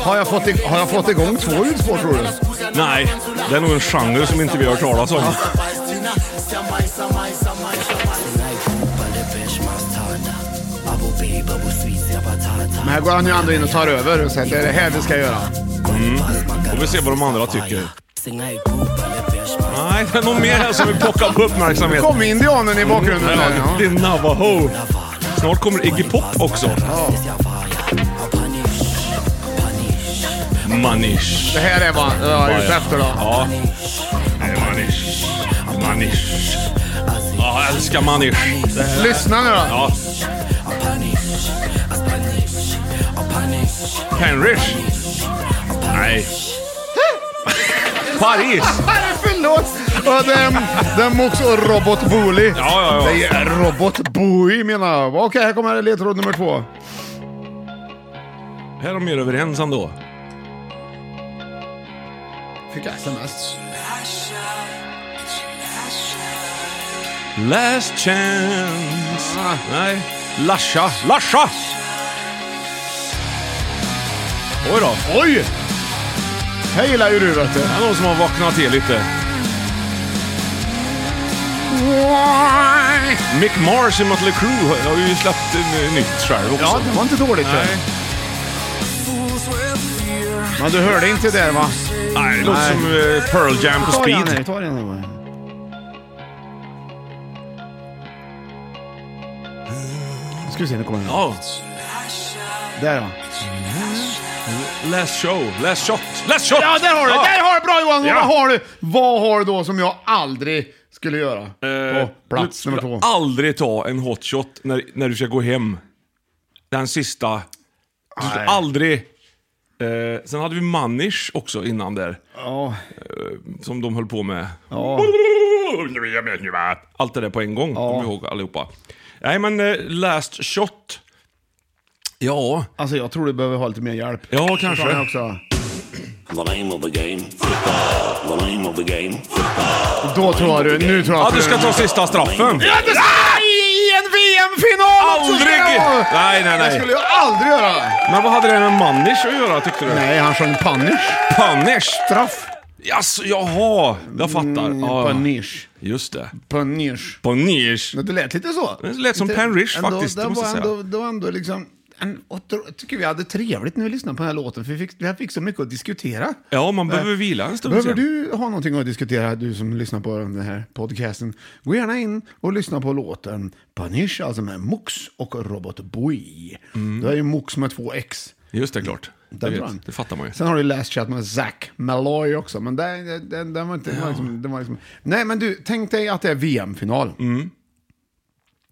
S2: Har jag, fått i- har jag fått igång två ljudspår tror du?
S3: Nej, det är nog en genre som inte vi har hört talas om.
S2: Men här går han ju ändå in och tar över och säger det är det här Mm. vi ska göra.
S9: Mm.
S3: Och vi ser vad de andra tycker. Nej, det är nog mer här som vill pocka på
S2: Nu
S3: uppmärksamhet.
S2: kommer indianen i bakgrunden. där,
S3: Mm, Ja,
S2: ja.
S3: Din navajo. Snart kommer Iggy Pop också. Manish.
S2: Det här är vad jag är ute efter då.
S3: Ja. Nej, Manish. Manish. Ja, jag älskar Manish.
S2: Lyssna nu då.
S3: Ja. Henrich. Nej. Paris.
S2: Förlåt! Och den, den var också Robot Booli.
S3: ja, ja.
S2: Det är Robot Bowie menar jag. Okej, här kommer ledtråd nummer två.
S3: Här är de mer överens ändå.
S2: Fick jag sms?
S3: Last chance.
S2: Ah.
S3: Nej. Lasha. Lasha! Oj då.
S2: Oj! Här gillar ju du vet du.
S3: Det är någon som har vaknat till lite. Mick Mars i Mötley Crüe har ju släppt eh, nytt själv också.
S2: Ja, det var inte dåligt.
S3: Nej.
S2: Men du hörde inte det där va?
S3: Nej, det låter
S2: Nej.
S3: som eh, Pearl Jam på
S2: Ta igen
S3: speed.
S2: här, ta igen här bara. Nu ska vi se, nu kommer den.
S3: Ja.
S2: Där ja.
S3: Last show, last shot, last shot!
S2: Ja, där har du! Där har du! Bra Johan!
S3: Ja.
S2: Vad har du? Vad har du då som jag aldrig skulle göra?
S3: Eh,
S2: på plats
S3: du
S2: nummer
S3: skulle
S2: två.
S3: aldrig ta en hot shot när, när du ska gå hem. Den sista. Du skulle aldrig. Eh, sen hade vi Manish också innan där. Eh,
S2: Ja,
S3: Som de höll på med.
S2: ja.
S3: Allt det där på en gång. Kom ihåg allihopa. Nej men eh, last shot. Ja,
S2: Alltså jag tror du behöver ha lite mer hjälp.
S3: ja
S2: Ta den här
S3: kanske.
S2: också.
S10: The name of the game, football. The name of the game,
S2: Då tror jag du, nu tror jag
S3: Ja,
S2: att
S3: du ska ta sista straffen.
S2: Ja, du ska... I en VM-final! också!
S3: Aldrig!
S2: Ja.
S3: Nej, nej,
S2: Det
S3: nej.
S2: skulle jag aldrig göra!
S3: Men vad hade det med Manish att göra tyckte du?
S2: Nej, han sjöng Punish.
S3: Punish?
S2: Straff.
S3: Jaså, jaha. Jag fattar.
S2: Mm,
S3: Ja,
S2: Punish.
S3: just det.
S2: Punish.
S3: Punish.
S2: Men Det lät lite så.
S3: Det lät som
S2: Lite-
S3: Pan Rish
S2: ändå-
S3: faktiskt, det
S2: Det
S3: måste
S2: var
S3: jag säga.
S2: ändå, det var ändå liksom... En, och då tycker vi hade trevligt när vi lyssnade på den här låten, för vi fick, vi fick så mycket att diskutera.
S3: Ja, man behöver vila en stund
S2: Äh, Behöver
S3: sen.
S2: du ha någonting att diskutera, du som lyssnar på den här podcasten? Gå gärna in och lyssna på låten Punish, alltså med Mux och Robot Boy.
S3: Mm.
S2: Det är ju Mux med två X.
S3: Just det, klart. Det,
S2: Den
S3: vet,
S2: tror han.
S3: det fattar man ju.
S2: Sen har du Last Chat med Zack Malloy också, men den, den, den var inte... Den var liksom, den var liksom, nej, men du, tänk dig att det är VM-final.
S3: Mm.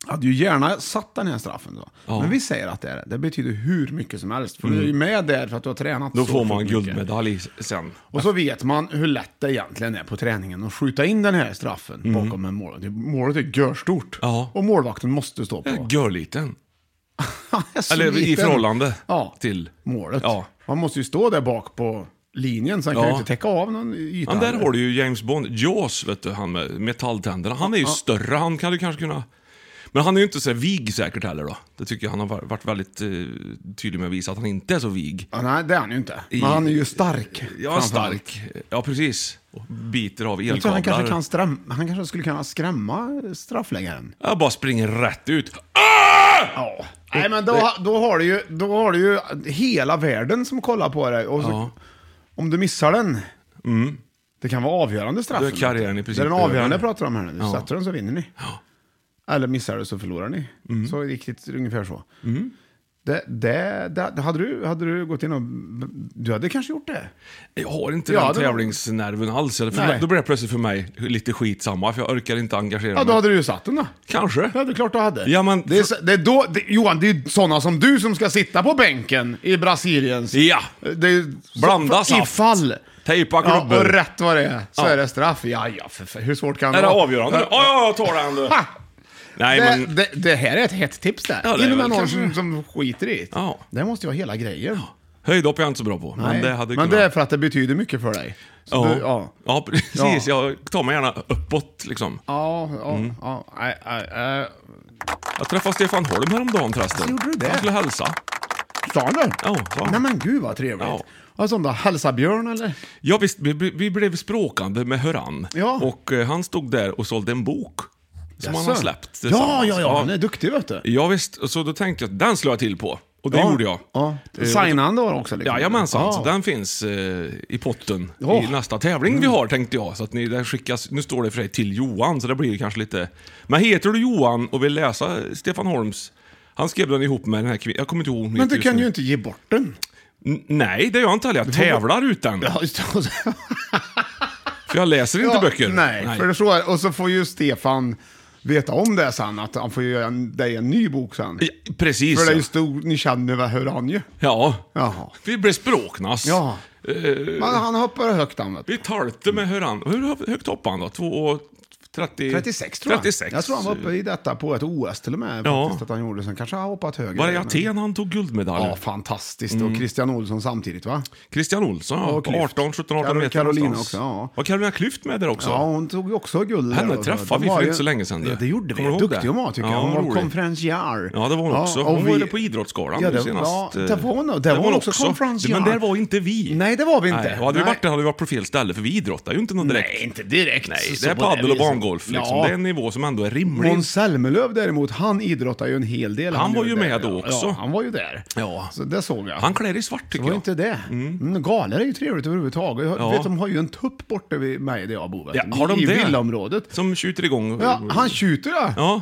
S2: Jag hade ju gärna satt den här straffen då. Men vi säger att det är det. Det betyder hur mycket som helst. För du är ju med där för att du har tränat
S3: Mm. Då
S2: så
S3: får man
S2: sjukt mycket.
S3: guldmedalj i- sen.
S2: Och så vet man hur lätt det egentligen är på träningen att skjuta in den här straffen bakom en mål. Det- Målet är görstort.
S3: Mm. Ja.
S2: Och målvakten måste stå på.
S3: Eh, Görliten.
S2: Han är så
S3: Eller i
S2: liten.
S3: förhållande
S2: Ja. Mm.
S3: till...
S2: målet.
S3: Ja.
S2: Man måste ju stå där bak på linjen så han kan
S3: Ja.
S2: ju inte täcka av någon yta.
S3: Ja, men där har du ju James Bond. Jaws, vet du, han med metalltänderna. Han är ju större, han kan du kanske kunna... Men han är ju inte så här vig säkert heller då. Det tycker jag han har var- varit väldigt eh, tydlig med att visa, att han inte är så vig.
S2: Ja, nej, det är han ju inte. Men
S3: I-
S2: han är ju stark.
S3: Ja,
S2: framför allt.
S3: stark. Ja, precis. Och biter av
S2: Jag tror han kanske,
S3: elkablar.
S2: kan sträm- han kanske skulle kunna skrämma straffläggaren.
S3: Jag bara springer rätt ut.
S2: Ja. Nej, men då, då, har du ju, då har du ju hela världen som kollar på dig. Och så,
S3: Ja. Mm.
S2: Om du missar den, det kan vara avgörande straff.
S3: Då är karriären i princip
S2: Det är den avgörande jag
S3: över.
S2: pratar om här nu.
S3: Ja.
S2: Sätter den så vinner ni. Eller missar du så förlorar ni.
S3: Mm.
S2: Så riktigt ungefär så. Det, det, det, det- hade, du, hade du gått in och... Du hade kanske gjort det.
S3: Jag har inte
S2: Ja,
S3: den
S2: det-
S3: tävlingsnerven alls. Eller för
S2: Nej.
S3: då blir det plötsligt för mig lite skitsamma, för jag orkar inte engagera
S2: Ja,
S3: mig.
S2: då hade du ju satt den då.
S3: Kanske.
S2: Ja, det är klart du hade.
S3: Ja, men-
S2: det, är, så- det är då, det, Johan, det är sådana som du som ska sitta på bänken i Brasiliens...
S3: Ja.
S2: Det är, ju-
S3: Blanda
S2: så,
S3: saft.
S2: Ifall.
S3: Tejpa
S2: Ja,
S3: klubbor.
S2: och rätt vad det är så
S3: Ja.
S2: är det straff. Ja, ja, för, för, hur svårt kan
S3: Är
S2: det
S3: det
S2: vara?
S3: avgörande? Ja, ja, jag tar den du.
S2: Ha!
S3: Nej,
S2: Det,
S3: men...
S2: det, det här är ett hett tips där.
S3: Ja, det är
S2: In med
S3: väl
S2: någon
S3: kanske-
S2: som, som skiter i det.
S3: Ja.
S2: Det måste ju vara hela grejen.
S3: Höjdhopp är jag inte så bra på.
S2: Nej.
S3: Men det hade
S2: men
S3: kunnat...
S2: det är för att det betyder mycket för dig. Så
S3: Ja.
S2: Du, ja.
S3: Ja. precis. Jag tar mig gärna uppåt liksom.
S2: Ja, ja, ja. Nej, nej, nej.
S3: Jag träffade Stefan Holm häromdagen förresten.
S2: Gjorde du det?
S3: Han skulle hälsa.
S2: Sa han det?
S3: Ja, sa han.
S2: Nej men gud vad trevligt.
S3: Ja.
S2: Vad sa han då? Hälsa Björn eller?
S3: Ja, visst, vi, vi vi blev språkande med Höran.
S2: Ja.
S3: Och eh, han stod där och sålde en bok. Som han har
S2: Jaså?
S3: släppt.
S2: Ja,
S3: tillsammans.
S2: ja, ja, han är duktig vet du.
S3: Ja, visst. Och Så då tänkte jag att den slår jag till på. Och det
S2: ja.
S3: gjorde jag.
S2: Ja.
S3: Eh,
S2: Signade han då också? Liksom.
S3: Jajamensan,
S2: Ja.
S3: så den finns eh, i potten
S2: Ja. Mm.
S3: i nästa tävling vi har tänkte jag. Så att ni, den skickas, nu står det för sig till Johan, så det blir kanske lite... Men heter du Johan och vill läsa Stefan Holms... Han skrev den ihop med den här kvinnan, jag kommer inte ihåg hon
S2: Men
S3: heter
S2: du
S3: just
S2: kan
S3: nu.
S2: ju inte ge bort den.
S3: N- Nej, det gör jag inte heller. Jag tävlar ut den.
S2: Ja, just det. Och så-
S3: För jag läser inte
S2: Ja,
S3: böcker.
S2: Nej, för det är så är, och så får ju Stefan veta om det sen, att han får göra en, dig en ny bok sen.
S3: Ja, Precis.
S2: För det är
S3: ja.
S2: ju stor, ni känner väl hur han ju.
S3: Ja.
S2: Jaha.
S3: Vi blev språknas.
S2: Ja. Men han hoppar högt han vet du.
S3: Vi talte med hur han... Hur hö- högt hoppade han då? 2 30...
S2: 36 tror jag.
S3: 36.
S2: Jag tror han var uppe i detta på ett OS till och med.
S3: Ja.
S2: Faktiskt, att han gjorde. Sen kanske han har hoppat högre.
S3: Var det i
S2: Men-
S3: Aten han tog guldmedalj?
S2: Ja, fantastiskt. Och Christian Olsson samtidigt va?
S3: Christian Olsson, ja.
S2: Och
S3: på
S2: Klyft.
S3: 18, 17, 18
S2: Karol-
S3: meter
S2: Carolina
S3: någonstans.
S2: också, ja.
S3: Var Carolina Klyft med där också?
S2: Ja, hon tog ju också guld.
S3: Henne
S2: där och så.
S3: träffade
S2: De
S3: vi
S2: var
S3: för
S2: ju-
S3: inte så länge sedan, du.
S2: Ja, det gjorde vi.
S3: Kommer du ihåg
S2: Duktig
S3: det?
S2: hon var tycker jag.
S3: Ja,
S2: Hon var
S3: rolig.
S2: konferencier.
S3: Ja, det var hon också.
S2: och
S3: Hon
S2: vi-
S3: var på Idrottsgalan
S2: Ja,
S3: nu
S2: det,
S3: senast.
S2: Ja,
S3: eh,
S2: det var hon, det
S3: där
S2: var hon också, konferencier.
S3: Men där var inte vi.
S2: Nej, det var vi inte.
S3: Nej, och hade vi
S2: Nej.
S3: varit där hade vi varit på fel ställe, för vi idrottar ju inte någon direkt.
S2: Nej, inte direkt.
S3: Nej,
S2: Så
S3: det är
S2: på
S3: padel och
S2: viset.
S3: barngolf liksom.
S2: Ja.
S3: Det är en nivå som ändå är rimlig.
S2: Måns Zelmerlöw däremot, han idrottar ju en hel del.
S3: Han var ju
S2: där.
S3: med då också.
S2: Ja, han var ju där.
S3: Ja.
S2: Så det såg jag.
S3: Han klär i svart tycker
S2: var
S3: jag.
S2: inte det. Mm. galor är ju trevligt överhuvudtaget. Jag
S3: Ja.
S2: vet, de har ju en tupp borta vid mig där jag bor. vet
S3: Ja,
S2: du.
S3: har de
S2: I
S3: det?
S2: villaområdet.
S3: mm. Som tjuter igång.
S2: Ja, han tjuter ja.
S3: Ja.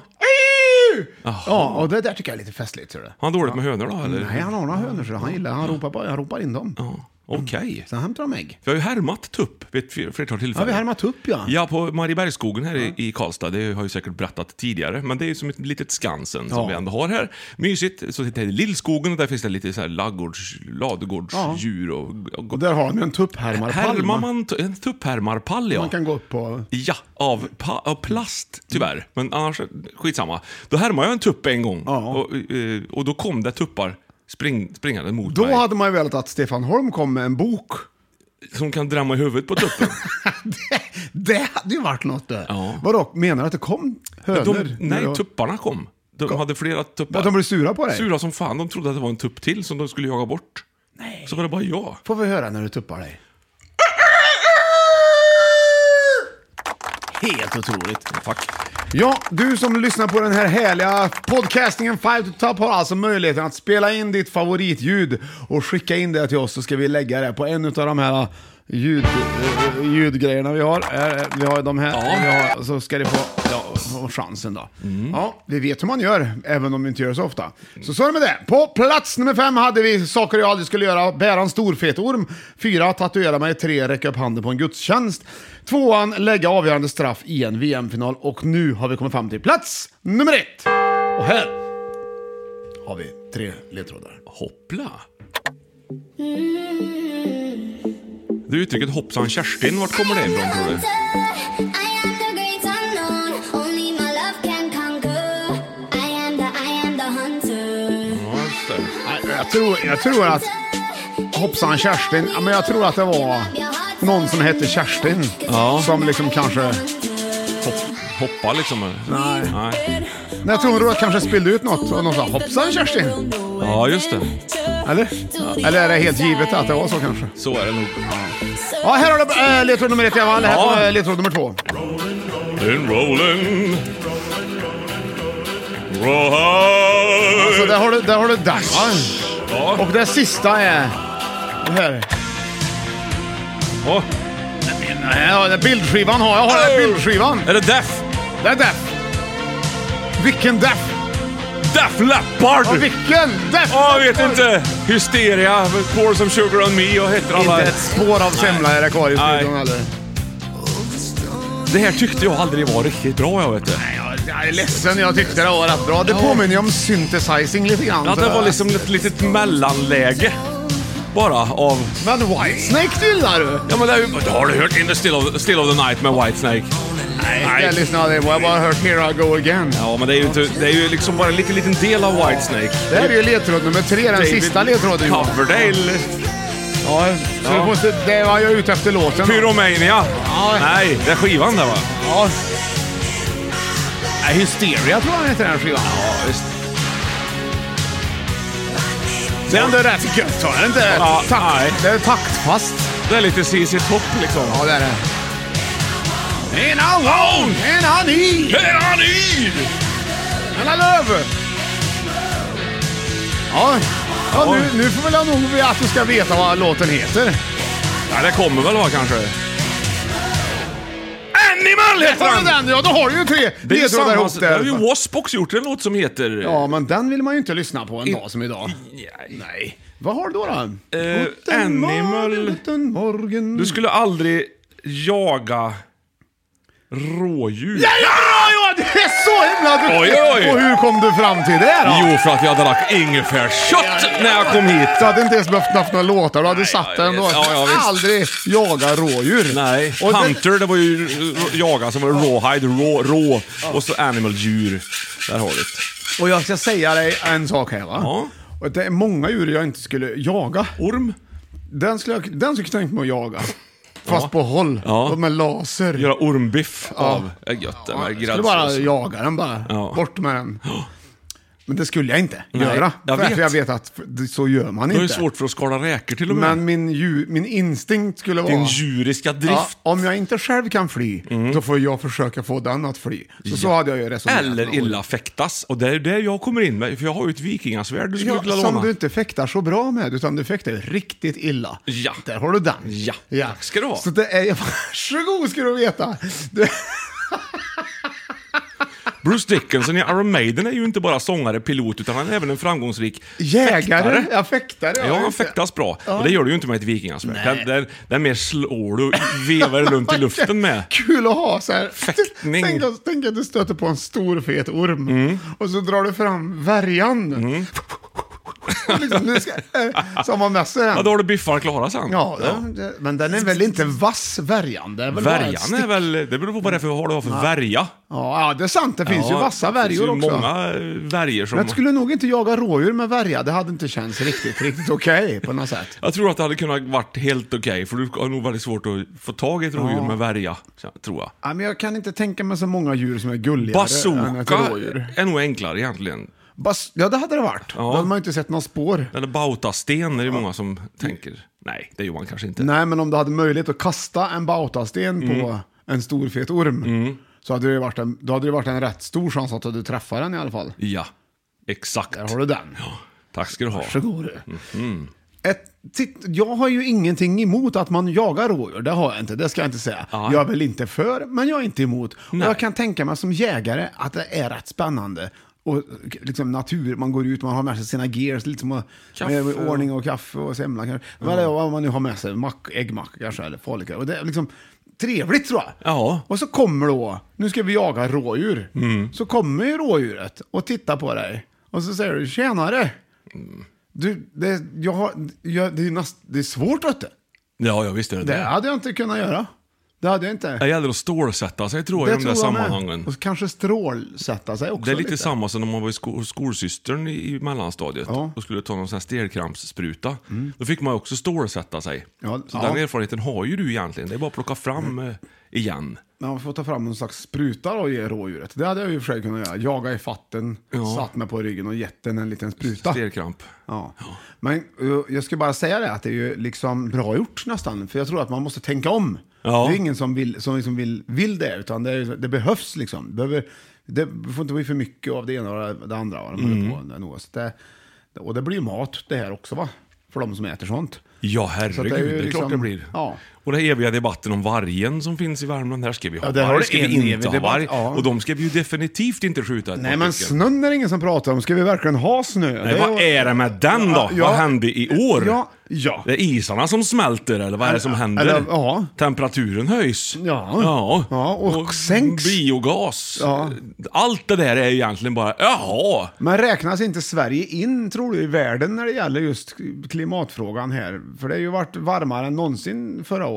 S2: you! Ja, och det där tycker jag är lite festligt. Ser du.
S3: Har han dåligt med hönor då eller?
S2: Nej, han har några hönor så han gillar Han ropar, på, han ropar in dem.
S3: Ja, Okej.
S2: Sen hämtar de ägg.
S3: Vi har ju härmat tupp vid ett fler- flertal
S2: Ja,
S3: tillfällen.
S2: vi härmat upp ja.
S3: Ja, på Mariebergsskogen här i- i Karlstad, det har jag ju säkert berättat tidigare, men det är ju som ett litet Skansen som
S2: Ja.
S3: vi ändå har här. Mysigt, så heter det Lillskogen och där finns det lite så här ladugårds, ladugårdsdjur och... och,
S2: Och där har han ju en tupphärmarpalm.
S3: härmar man t- en tupphärmarpall, ja.
S2: Man kan gå upp på...
S3: Ja, av, pa- av plast
S2: Mm.
S3: tyvärr. Men annars, skitsamma. Då härmade jag en tupp en gång
S2: Ja.
S3: och, eh, och då kom det tuppar spring, springande mot
S2: Då
S3: mig
S2: hade man ju velat att Stefan Holm kom med en bok.
S3: som kan drämma i huvudet på tuppen.
S2: det, det hade ju varit något det.
S3: Ja.
S2: Vadå, menar du att det kom hönor?
S3: De, nej, tupparna kom. De hade flera tuppar.
S2: Att de blev sura på dig?
S3: Sura som fan. De trodde att det var en tupp till som de skulle jaga bort. Nej. Så var det bara jag.
S2: Får vi höra när du tuppar dig? Helt otroligt.
S3: Fuck.
S2: Ja, du som lyssnar på den här härliga podcastingen Five to Top har alltså möjligheten att spela in ditt favoritljud och skicka in det till oss så ska vi lägga det på en av de här ljud, eh, ljudgrejerna vi har. Eh, Vi har de här, vi har, så ska det få, ja, få chansen då. Ja, vi vet hur man gör, även om vi inte gör det så ofta. Så så är det med det. På plats nummer fem hade vi saker jag aldrig skulle göra. Bära en stor fet orm. Fyra, tatuera mig. Tre, räcka upp handen på en gudstjänst. Tvåan, lägga avgörande straff i en VM-final. Och nu har vi kommit fram till plats nummer ett. Och här har vi tre ledtrådar.
S3: Hoppla. Det uttrycket hoppsan Kerstin, vart kommer det ifrån tror du? Ja, just det.
S2: Jag, jag, tror, jag tror att hoppsan Kerstin, ja, men jag tror att det var någon som hette Kerstin. Som liksom kanske,
S3: Hopp, hoppa liksom.
S2: nej.
S3: Nej.
S2: Men jag tror att kanske spillde ut något och någon sa hoppsan Kerstin.
S3: Ja, just det.
S2: Eller? Eller är det helt givet att det var så kanske?
S3: Så är det nog.
S2: Ja, här har du äh, ledtråd nummer ett i alla fall. Det här
S3: Ja.
S2: var äh, ledtråd nummer två.
S3: Been rolling. Roll.
S2: Så där har du, där har du den.
S3: Ja.
S2: Och det sista är... Det här.
S3: Åh,
S2: Nej, ja, det är bildskivan har jag. Har jag bildskivan?
S3: är det Def?
S2: Det är Deff. Vilken Deff?
S3: Def Leppard!
S2: Ja, vilken Deff?
S3: Ja, jag vet inte. Hysteria, Pour some sugar on me och heter alla...
S2: Inte ett spår av semla är det kvar i
S3: Nej.
S2: studion heller.
S3: Det här tyckte jag aldrig var riktigt bra, jag vet du.
S2: Jag är ledsen, jag tyckte det var rätt bra. Det påminner ju om synthesizing lite grann.
S3: Ja, det
S2: sådär.
S3: var liksom ett litet mellanläge. Bara av...
S2: Men Whitesnake gillar du!
S3: Ja, men det är ju... Har du hört In the still of, still of the night med Whitesnake?
S2: Nej. Jag lyssnade aldrig på, jag bara hört Here I Go Again.
S3: Ja, men det är ju, inte, det är ju liksom bara en liten, liten del av Whitesnake.
S2: Det här är ju ledtråd nummer tre, den sista ledtråden Johan.
S3: Coverdale.
S2: Ja, så
S3: Ja.
S2: du måste, det var jag ute efter låten.
S3: Pyromania. Nej, det är skivan där va?
S2: Ja. Nej, Hysteria tror jag den heter den här skivan.
S3: Ja, visst.
S2: Det är ändå rätt gött, har den inte?
S3: Ja,
S2: Takt-
S3: nej.
S2: det är taktfast.
S3: Det är lite CC Top liksom.
S2: Ja, det är det.
S3: In alone!
S2: En honey!
S3: Here I need!
S2: En löv! Ja, ja nu, nu får väl jag nog att du ska veta vad låten heter.
S3: Ja, det kommer väl va kanske? Animal heter
S2: Har du
S3: den!
S2: den? Ja, då har du ju tre
S3: Det är ju
S2: ledtrådar
S3: samma...
S2: ihop
S3: Det har
S2: där.
S3: ju Wasp också gjort en låt som heter...
S2: Ja, men den vill man ju inte lyssna på en dag som idag.
S3: Nej.
S2: Vad har du då? då?
S3: Eh,
S2: Guten
S3: Animal.
S2: Morgen, Guten morgen.
S3: Du skulle aldrig jaga rådjur.
S2: Ja, bra Johan! Det är så himla duktigt!
S3: Oj, oj.
S2: Och hur kom du fram till det då?
S3: Jo, för att jag hade lagt ingefärskött när jag kom hit.
S2: Du hade inte ens behövt haft några låtar, du hade satt
S3: ja,
S2: den då.
S3: ja, ja, visst.
S2: Aldrig jaga rådjur.
S3: Nej,
S2: Och det-
S3: Hunter det var ju eh, jaga som var rawhide, rå, rå och så animaldjur. Där har du det.
S2: Och jag ska säga dig en sak här va.
S3: Ja.
S2: Och Det är många djur jag inte skulle jaga.
S3: Orm.
S2: Den skulle jag, den skulle jag tänkt mig att jaga. Fast på håll.
S3: Ja.
S2: Och med laser.
S3: Göra ormbiff av. Det är gött det
S2: Ja, jag
S3: med
S2: skulle bara
S3: gräddsås.
S2: jaga den bara.
S3: Ja.
S2: Bort med den. Men det skulle jag inte
S3: Nej,
S2: göra.
S3: jag
S2: för
S3: vet.
S2: jag vet att det- så gör man
S3: Det är
S2: inte.
S3: ju svårt för att skala räkor till och med.
S2: Men min, djur, min instinkt skulle vara...
S3: Din djuriska
S2: Ja,
S3: drift.
S2: om jag inte själv kan fly,
S3: Mm.
S2: då får jag försöka få den att fly. Så, så hade jag ju resonerat.
S3: Eller illa fäktas. Och det är där jag kommer in med, för jag har ju ett vikingasvärd du skulle
S2: Ja,
S3: kunna
S2: som
S3: låna.
S2: du inte fäktar så bra med, utan du fäktar ju riktigt illa.
S3: Ja.
S2: Där har du den.
S3: Ja. Tack ska du ha.
S2: Så det är, varsågod ska du veta. Du,
S3: Bruce Dickinson i Iron Maiden är ju inte bara sångare, pilot, utan han är även en framgångsrik
S2: Jägare? Ja, fäktare.
S3: Ja, han
S2: just det.
S3: fäktas bra. Och det gör du ju inte med ett vikingasvärd. Den, den, den mer slår du, vevar runt i luften med.
S2: Kul att ha så här.
S3: Fäktning. Mm.
S2: Tänk, att- tänk att du stöter på en stor fet orm och så drar du fram värjan. liksom, nu ska, eh, som har med sig den.
S3: Ja, då har du biffar klara sen.
S2: Ja, Det, men den är väl inte vass, värjan? Det är väl bara ett
S3: Värjan
S2: stick-
S3: är väl... Det beror på vad det är för, vad du har för värja.
S2: Ja, ja, det är sant. Det finns ju vassa värjor
S3: Det finns ju
S2: också.
S3: många eh, värjor som...
S2: Men jag skulle nog inte jaga rådjur med värja. Det hade inte känts riktigt, riktigt okej på något sätt.
S3: Jag tror att det hade kunnat varit helt okej, för du har nog väldigt svårt att få tag i ett rådjur med värja, tror jag.
S2: Ja, men jag kan inte tänka mig så många djur som är gulligare än ett
S3: Bazooka
S2: rådjur.
S3: är nog enklare egentligen.
S2: Bas- ja, det hade det varit. Då hade man ju inte sett några spår.
S3: Eller bautasten är det många som tänker. Nej, det gör man kanske inte.
S2: Nej, men om du hade möjlighet att kasta en bautasten på en stor fet orm så hade det, varit en, då hade det varit en rätt stor chans att du träffar den i alla fall.
S3: Ja, exakt.
S2: Där har du den.
S3: Tack ska du ha.
S2: Varsågod du. Ett, titt, jag har ju ingenting emot att man jagar rådjur, det har jag inte, det ska jag inte säga. Jag är väl inte för, men jag är inte emot. Och jag kan tänka mig som jägare att det är rätt spännande. Och liksom natur, man går ut, man har med sig sina gears, lite som att-
S3: Kaffe.
S2: med ordning och kaffe och semla kanske. Eller vad man nu har med sig, mack, äggmacka kanske, eller falukorv. Och det är liksom trevligt tror jag.
S3: Ja.
S2: Och så kommer då, nu ska vi jaga rådjur.
S3: Mm.
S2: Så kommer ju rådjuret och tittar på dig. Och så säger du, tjenare!
S3: Mm.
S2: Du, det, jag har, jag, det, är näst, det är svårt vet du.
S3: Ja, ja visst är det
S2: Det
S3: det.
S2: hade jag inte kunnat göra. Det hade jag inte.
S3: Det gäller att stålsätta sig tror jag i de där
S2: tror jag med.
S3: sammanhangen.
S2: Och kanske strålsätta sig också.
S3: Det är lite samma som när man var i sko- skolsystern i i mellanstadiet
S2: Ja. Mm.
S3: och skulle ta någon sån här stelkrampsspruta. Då fick man ju också stålsätta sig.
S2: Ja,
S3: så
S2: ja. Mm.
S3: den erfarenheten har ju du egentligen. Det är bara att plocka fram eh, igen.
S2: Men man får ta fram någon slags spruta då och ge rådjuret. Det hade jag ju i och för sig kunnat göra. Jaga i fatten, satt mig på ryggen och gett den en liten spruta.
S3: Stelkramp.
S2: Ja. Men eh, jag ska bara säga det att det är ju liksom bra gjort nästan. För jag tror att man måste tänka om.
S3: Ja.
S2: Det är ingen som vill, som liksom vill, vill det, utan det, är, det behövs liksom. Det, behöver, det får inte bli för mycket av det ena och det andra. Vad de
S3: Mm.
S2: håller på med nu. Så det, och det blir ju mat det här också va? För de som äter sånt.
S3: Ja,
S2: Så
S3: herregud.
S2: det
S3: Det
S2: är
S3: är,
S2: ju liksom-
S3: klart det blir.
S2: ja.
S3: Och den eviga debatten om vargen som finns i Värmland. Här ska vi ha
S2: Ja, där har
S3: varg,
S2: du
S3: ska
S2: en
S3: vi
S2: evig
S3: inte ha
S2: debatt,
S3: varg.
S2: ja.
S3: Och de ska vi ju definitivt inte skjuta ett
S2: Nej
S3: par
S2: men
S3: stycken.
S2: snön är det ingen som pratar om. Ska vi verkligen ha snö?
S3: Nej, vad är det med den då?
S2: Ja,
S3: Vad hände i år?
S2: Ja, ja.
S3: Det är isarna som smälter eller vad är det som händer?
S2: eller, ja.
S3: Temperaturen höjs.
S2: Ja. Ja, och sänks.
S3: Biogas.
S2: Ja.
S3: Allt det där är egentligen bara, jaha.
S2: Men räknas inte Sverige in, tror du, i världen när det gäller just klimatfrågan här? För det har ju varit varmare än någonsin förra året.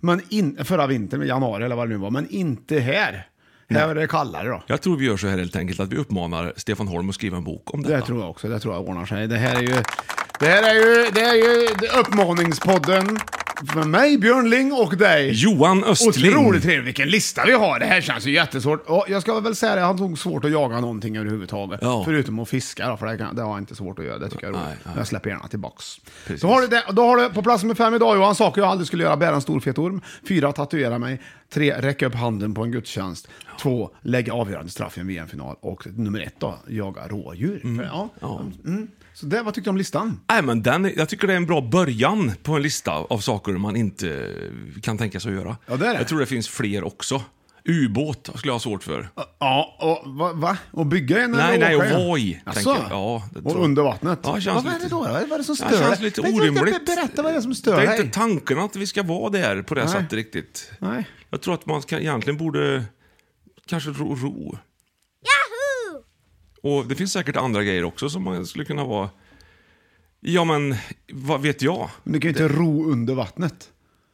S2: Men in, förra vintern, i januari eller vad det nu var, men inte här. Här är det kallare då.
S3: Jag tror vi gör så här helt enkelt att vi uppmanar Stefan Holm att skriva en bok om detta.
S2: Det tror jag också, det tror jag ordnar sig. Det här är ju, det här är ju, det är ju uppmaningspodden med mig, Björn Ling och dig.
S3: Johan Östling.
S2: Otroligt trevligt, vilken lista vi har. Det här känns ju jättesvårt. Och jag ska väl säga det, han tog svårt att jaga någonting överhuvudtaget.
S3: Ja.
S2: Förutom att fiska då, för det, kan, det har jag inte svårt att göra. Det tycker jag är roligt.
S3: Nej, nej.
S2: Jag släpper gärna tillbaks. Då har, du det, då har du på plats nummer fem idag Johan, saker jag aldrig skulle göra. Bära en stor fet orm. Fyra, tatuera mig. Tre, räcka upp handen på en gudstjänst. Två, lägga avgörande straff i en VM-final. Och nummer ett då, jaga rådjur. För, ja. Mm. Så det, vad tyckte du om listan?
S3: Nej, men den, jag tycker det är en bra början på en lista av saker man inte kan tänka sig att göra.
S2: Ja, det är det.
S3: Jag tror det finns fler också. Ubåt skulle jag ha svårt för.
S2: Ja, och va? va? Och bygga en
S3: Nej,
S2: eller
S3: nej,
S2: åka
S3: och
S2: en?
S3: vara i,
S2: Jaså?
S3: tänker jag. Ja, det tror
S2: och
S3: jag.
S2: under vattnet?
S3: Ja, det känns
S2: vad är det
S3: lite-
S2: då? Vad är det som
S3: Ja,
S2: stör?
S3: det känns
S2: dig?
S3: lite
S2: Men vänta,
S3: orimligt.
S2: Berätta vad det är som
S3: Det
S2: stör
S3: är
S2: dig.
S3: inte tanken att vi ska vara där på det
S2: Nej.
S3: sättet riktigt.
S2: Nej.
S3: Jag tror att man ska, egentligen borde kanske ro, ro. Yahoo! Och det finns säkert andra grejer också som man skulle kunna vara... Ja, men vad vet jag?
S2: Men du kan ju inte ro under vattnet.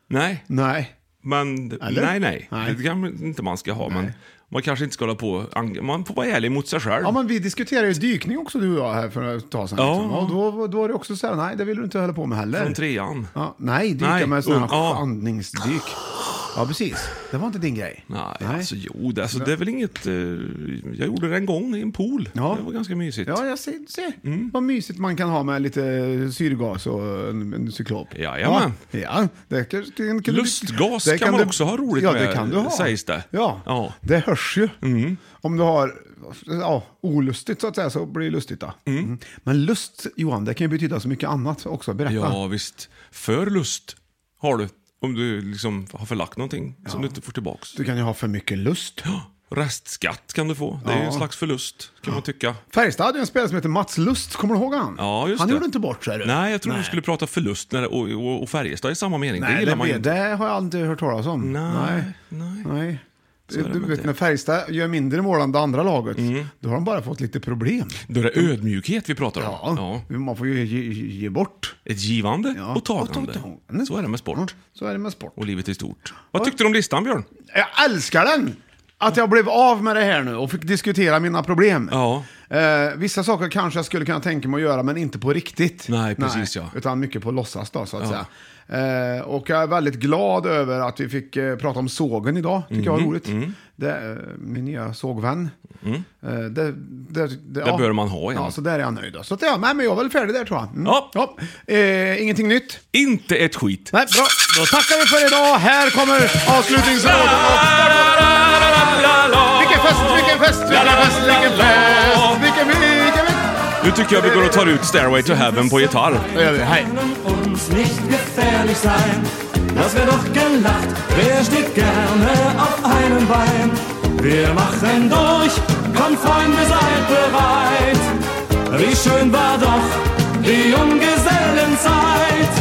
S3: Nej,
S2: Nej.
S3: men...
S2: Eller?
S3: Nej, nej,
S2: Nej.
S3: Det kan man inte man ska ha, men man kanske inte ska hålla på... och ang- Man får vara ärlig mot sig själv.
S2: Ja, men vi diskuterade ju dykning också du och jag här för ett tag sedan.
S3: Ja.
S2: Liksom. Och då, då var det också så här, nej det vill du inte hålla på med heller.
S3: Från trean.
S2: Ja, nej, dyka
S3: Nej,
S2: med sådana
S3: um, ja.
S2: andningsdyk. Ja, precis. Det var inte din grej.
S3: Nej, alltså jo, det, alltså, det är väl inget... eh, jag gjorde det en gång i en pool.
S2: Ja.
S3: Det var ganska mysigt.
S2: Ja, jag ser, ser.
S3: Mm.
S2: vad mysigt man kan ha med lite syrgas och en, en cyklop.
S3: Jajamän.
S2: Ja, ja. Det kan, kan, kan
S3: Lustgas kan man också ha roligt
S2: ja,
S3: med,
S2: det kan du ha.
S3: sägs det.
S2: Ja,
S3: Ja. Mm.
S2: det hörs ju. Om du har ja, olustigt så att säga så blir det lustigt. Då. Mm. Men lust, Johan, det kan ju betyda så mycket annat också. Berätta.
S3: Ja, visst. För lust har du. Om du liksom har förlagt någonting som du inte får tillbaks.
S2: Du kan ju ha för mycket lust.
S3: Restskatt kan du få. Det är ju en slags förlust, kan man tycka.
S2: Färjestad hade ju en spelare som heter Mats Lust, kommer du ihåg han?
S3: Ja, just
S2: han
S3: det.
S2: gjorde inte bort sig. du.
S3: Nej, jag trodde du skulle prata förlust när, och, och, och Färjestad i samma mening. det
S2: Nej,
S3: gillar
S2: det,
S3: man ju
S2: vet-
S3: inte.
S2: det har jag aldrig hört talas om.
S3: Nej, nej.
S2: nej.
S3: är det
S2: Du
S3: med
S2: vet,
S3: det. Mm.
S2: när Färjestad gör mindre mål än det andra laget, då har de bara fått lite problem.
S3: Då är det ödmjukhet vi pratar om.
S2: Ja, man får ju ge, ge, ge bort.
S3: Ett givande
S2: Ja.
S3: och tagande.
S2: tagande.
S3: Så är det med sport.
S2: Ja, så är det med sport.
S3: Och livet i stort. Vad tyckte du om listan, Björn?
S2: Jag älskar den! Att jag blev av med det här nu och fick diskutera mina problem.
S3: Ja.
S2: Eh, vissa saker kanske jag skulle kunna tänka mig att göra, men inte på riktigt.
S3: Nej, precis, ja.
S2: Utan mycket på låtsas då, så att säga. Eh, och jag är väldigt glad över att vi fick eh, prata om sågen idag. Tycker jag var
S3: Mm,
S2: roligt. Det, är, eh, min nya sågvän. Eh, det, det, det, ja.
S3: bör man ha, ja.
S2: Ja, så där är jag nöjd. då. Så att, ja, nej, men jag är väl färdig där tror jag. Mm.
S3: Ja.
S2: Eh, ingenting nytt.
S3: Inte ett skit.
S2: Nej, bra. Då tackar vi för idag. Här kommer avslutningslåten. Och- Vilken fest, vilken fest, vilken fest, vilken fest, vilken, vilken, vilken...
S3: Nu tycker jag vi går och tar ut Stairway to Heaven på gitarr.
S2: Då gör vi, hej.
S7: uns nicht gefährlich sein. Dass wer doch gern lacht, der steht gerne auf einem Bein. Wir machen durch, kommt Freunde, seid bereit. Wie schön war doch die Junggesellenzeit.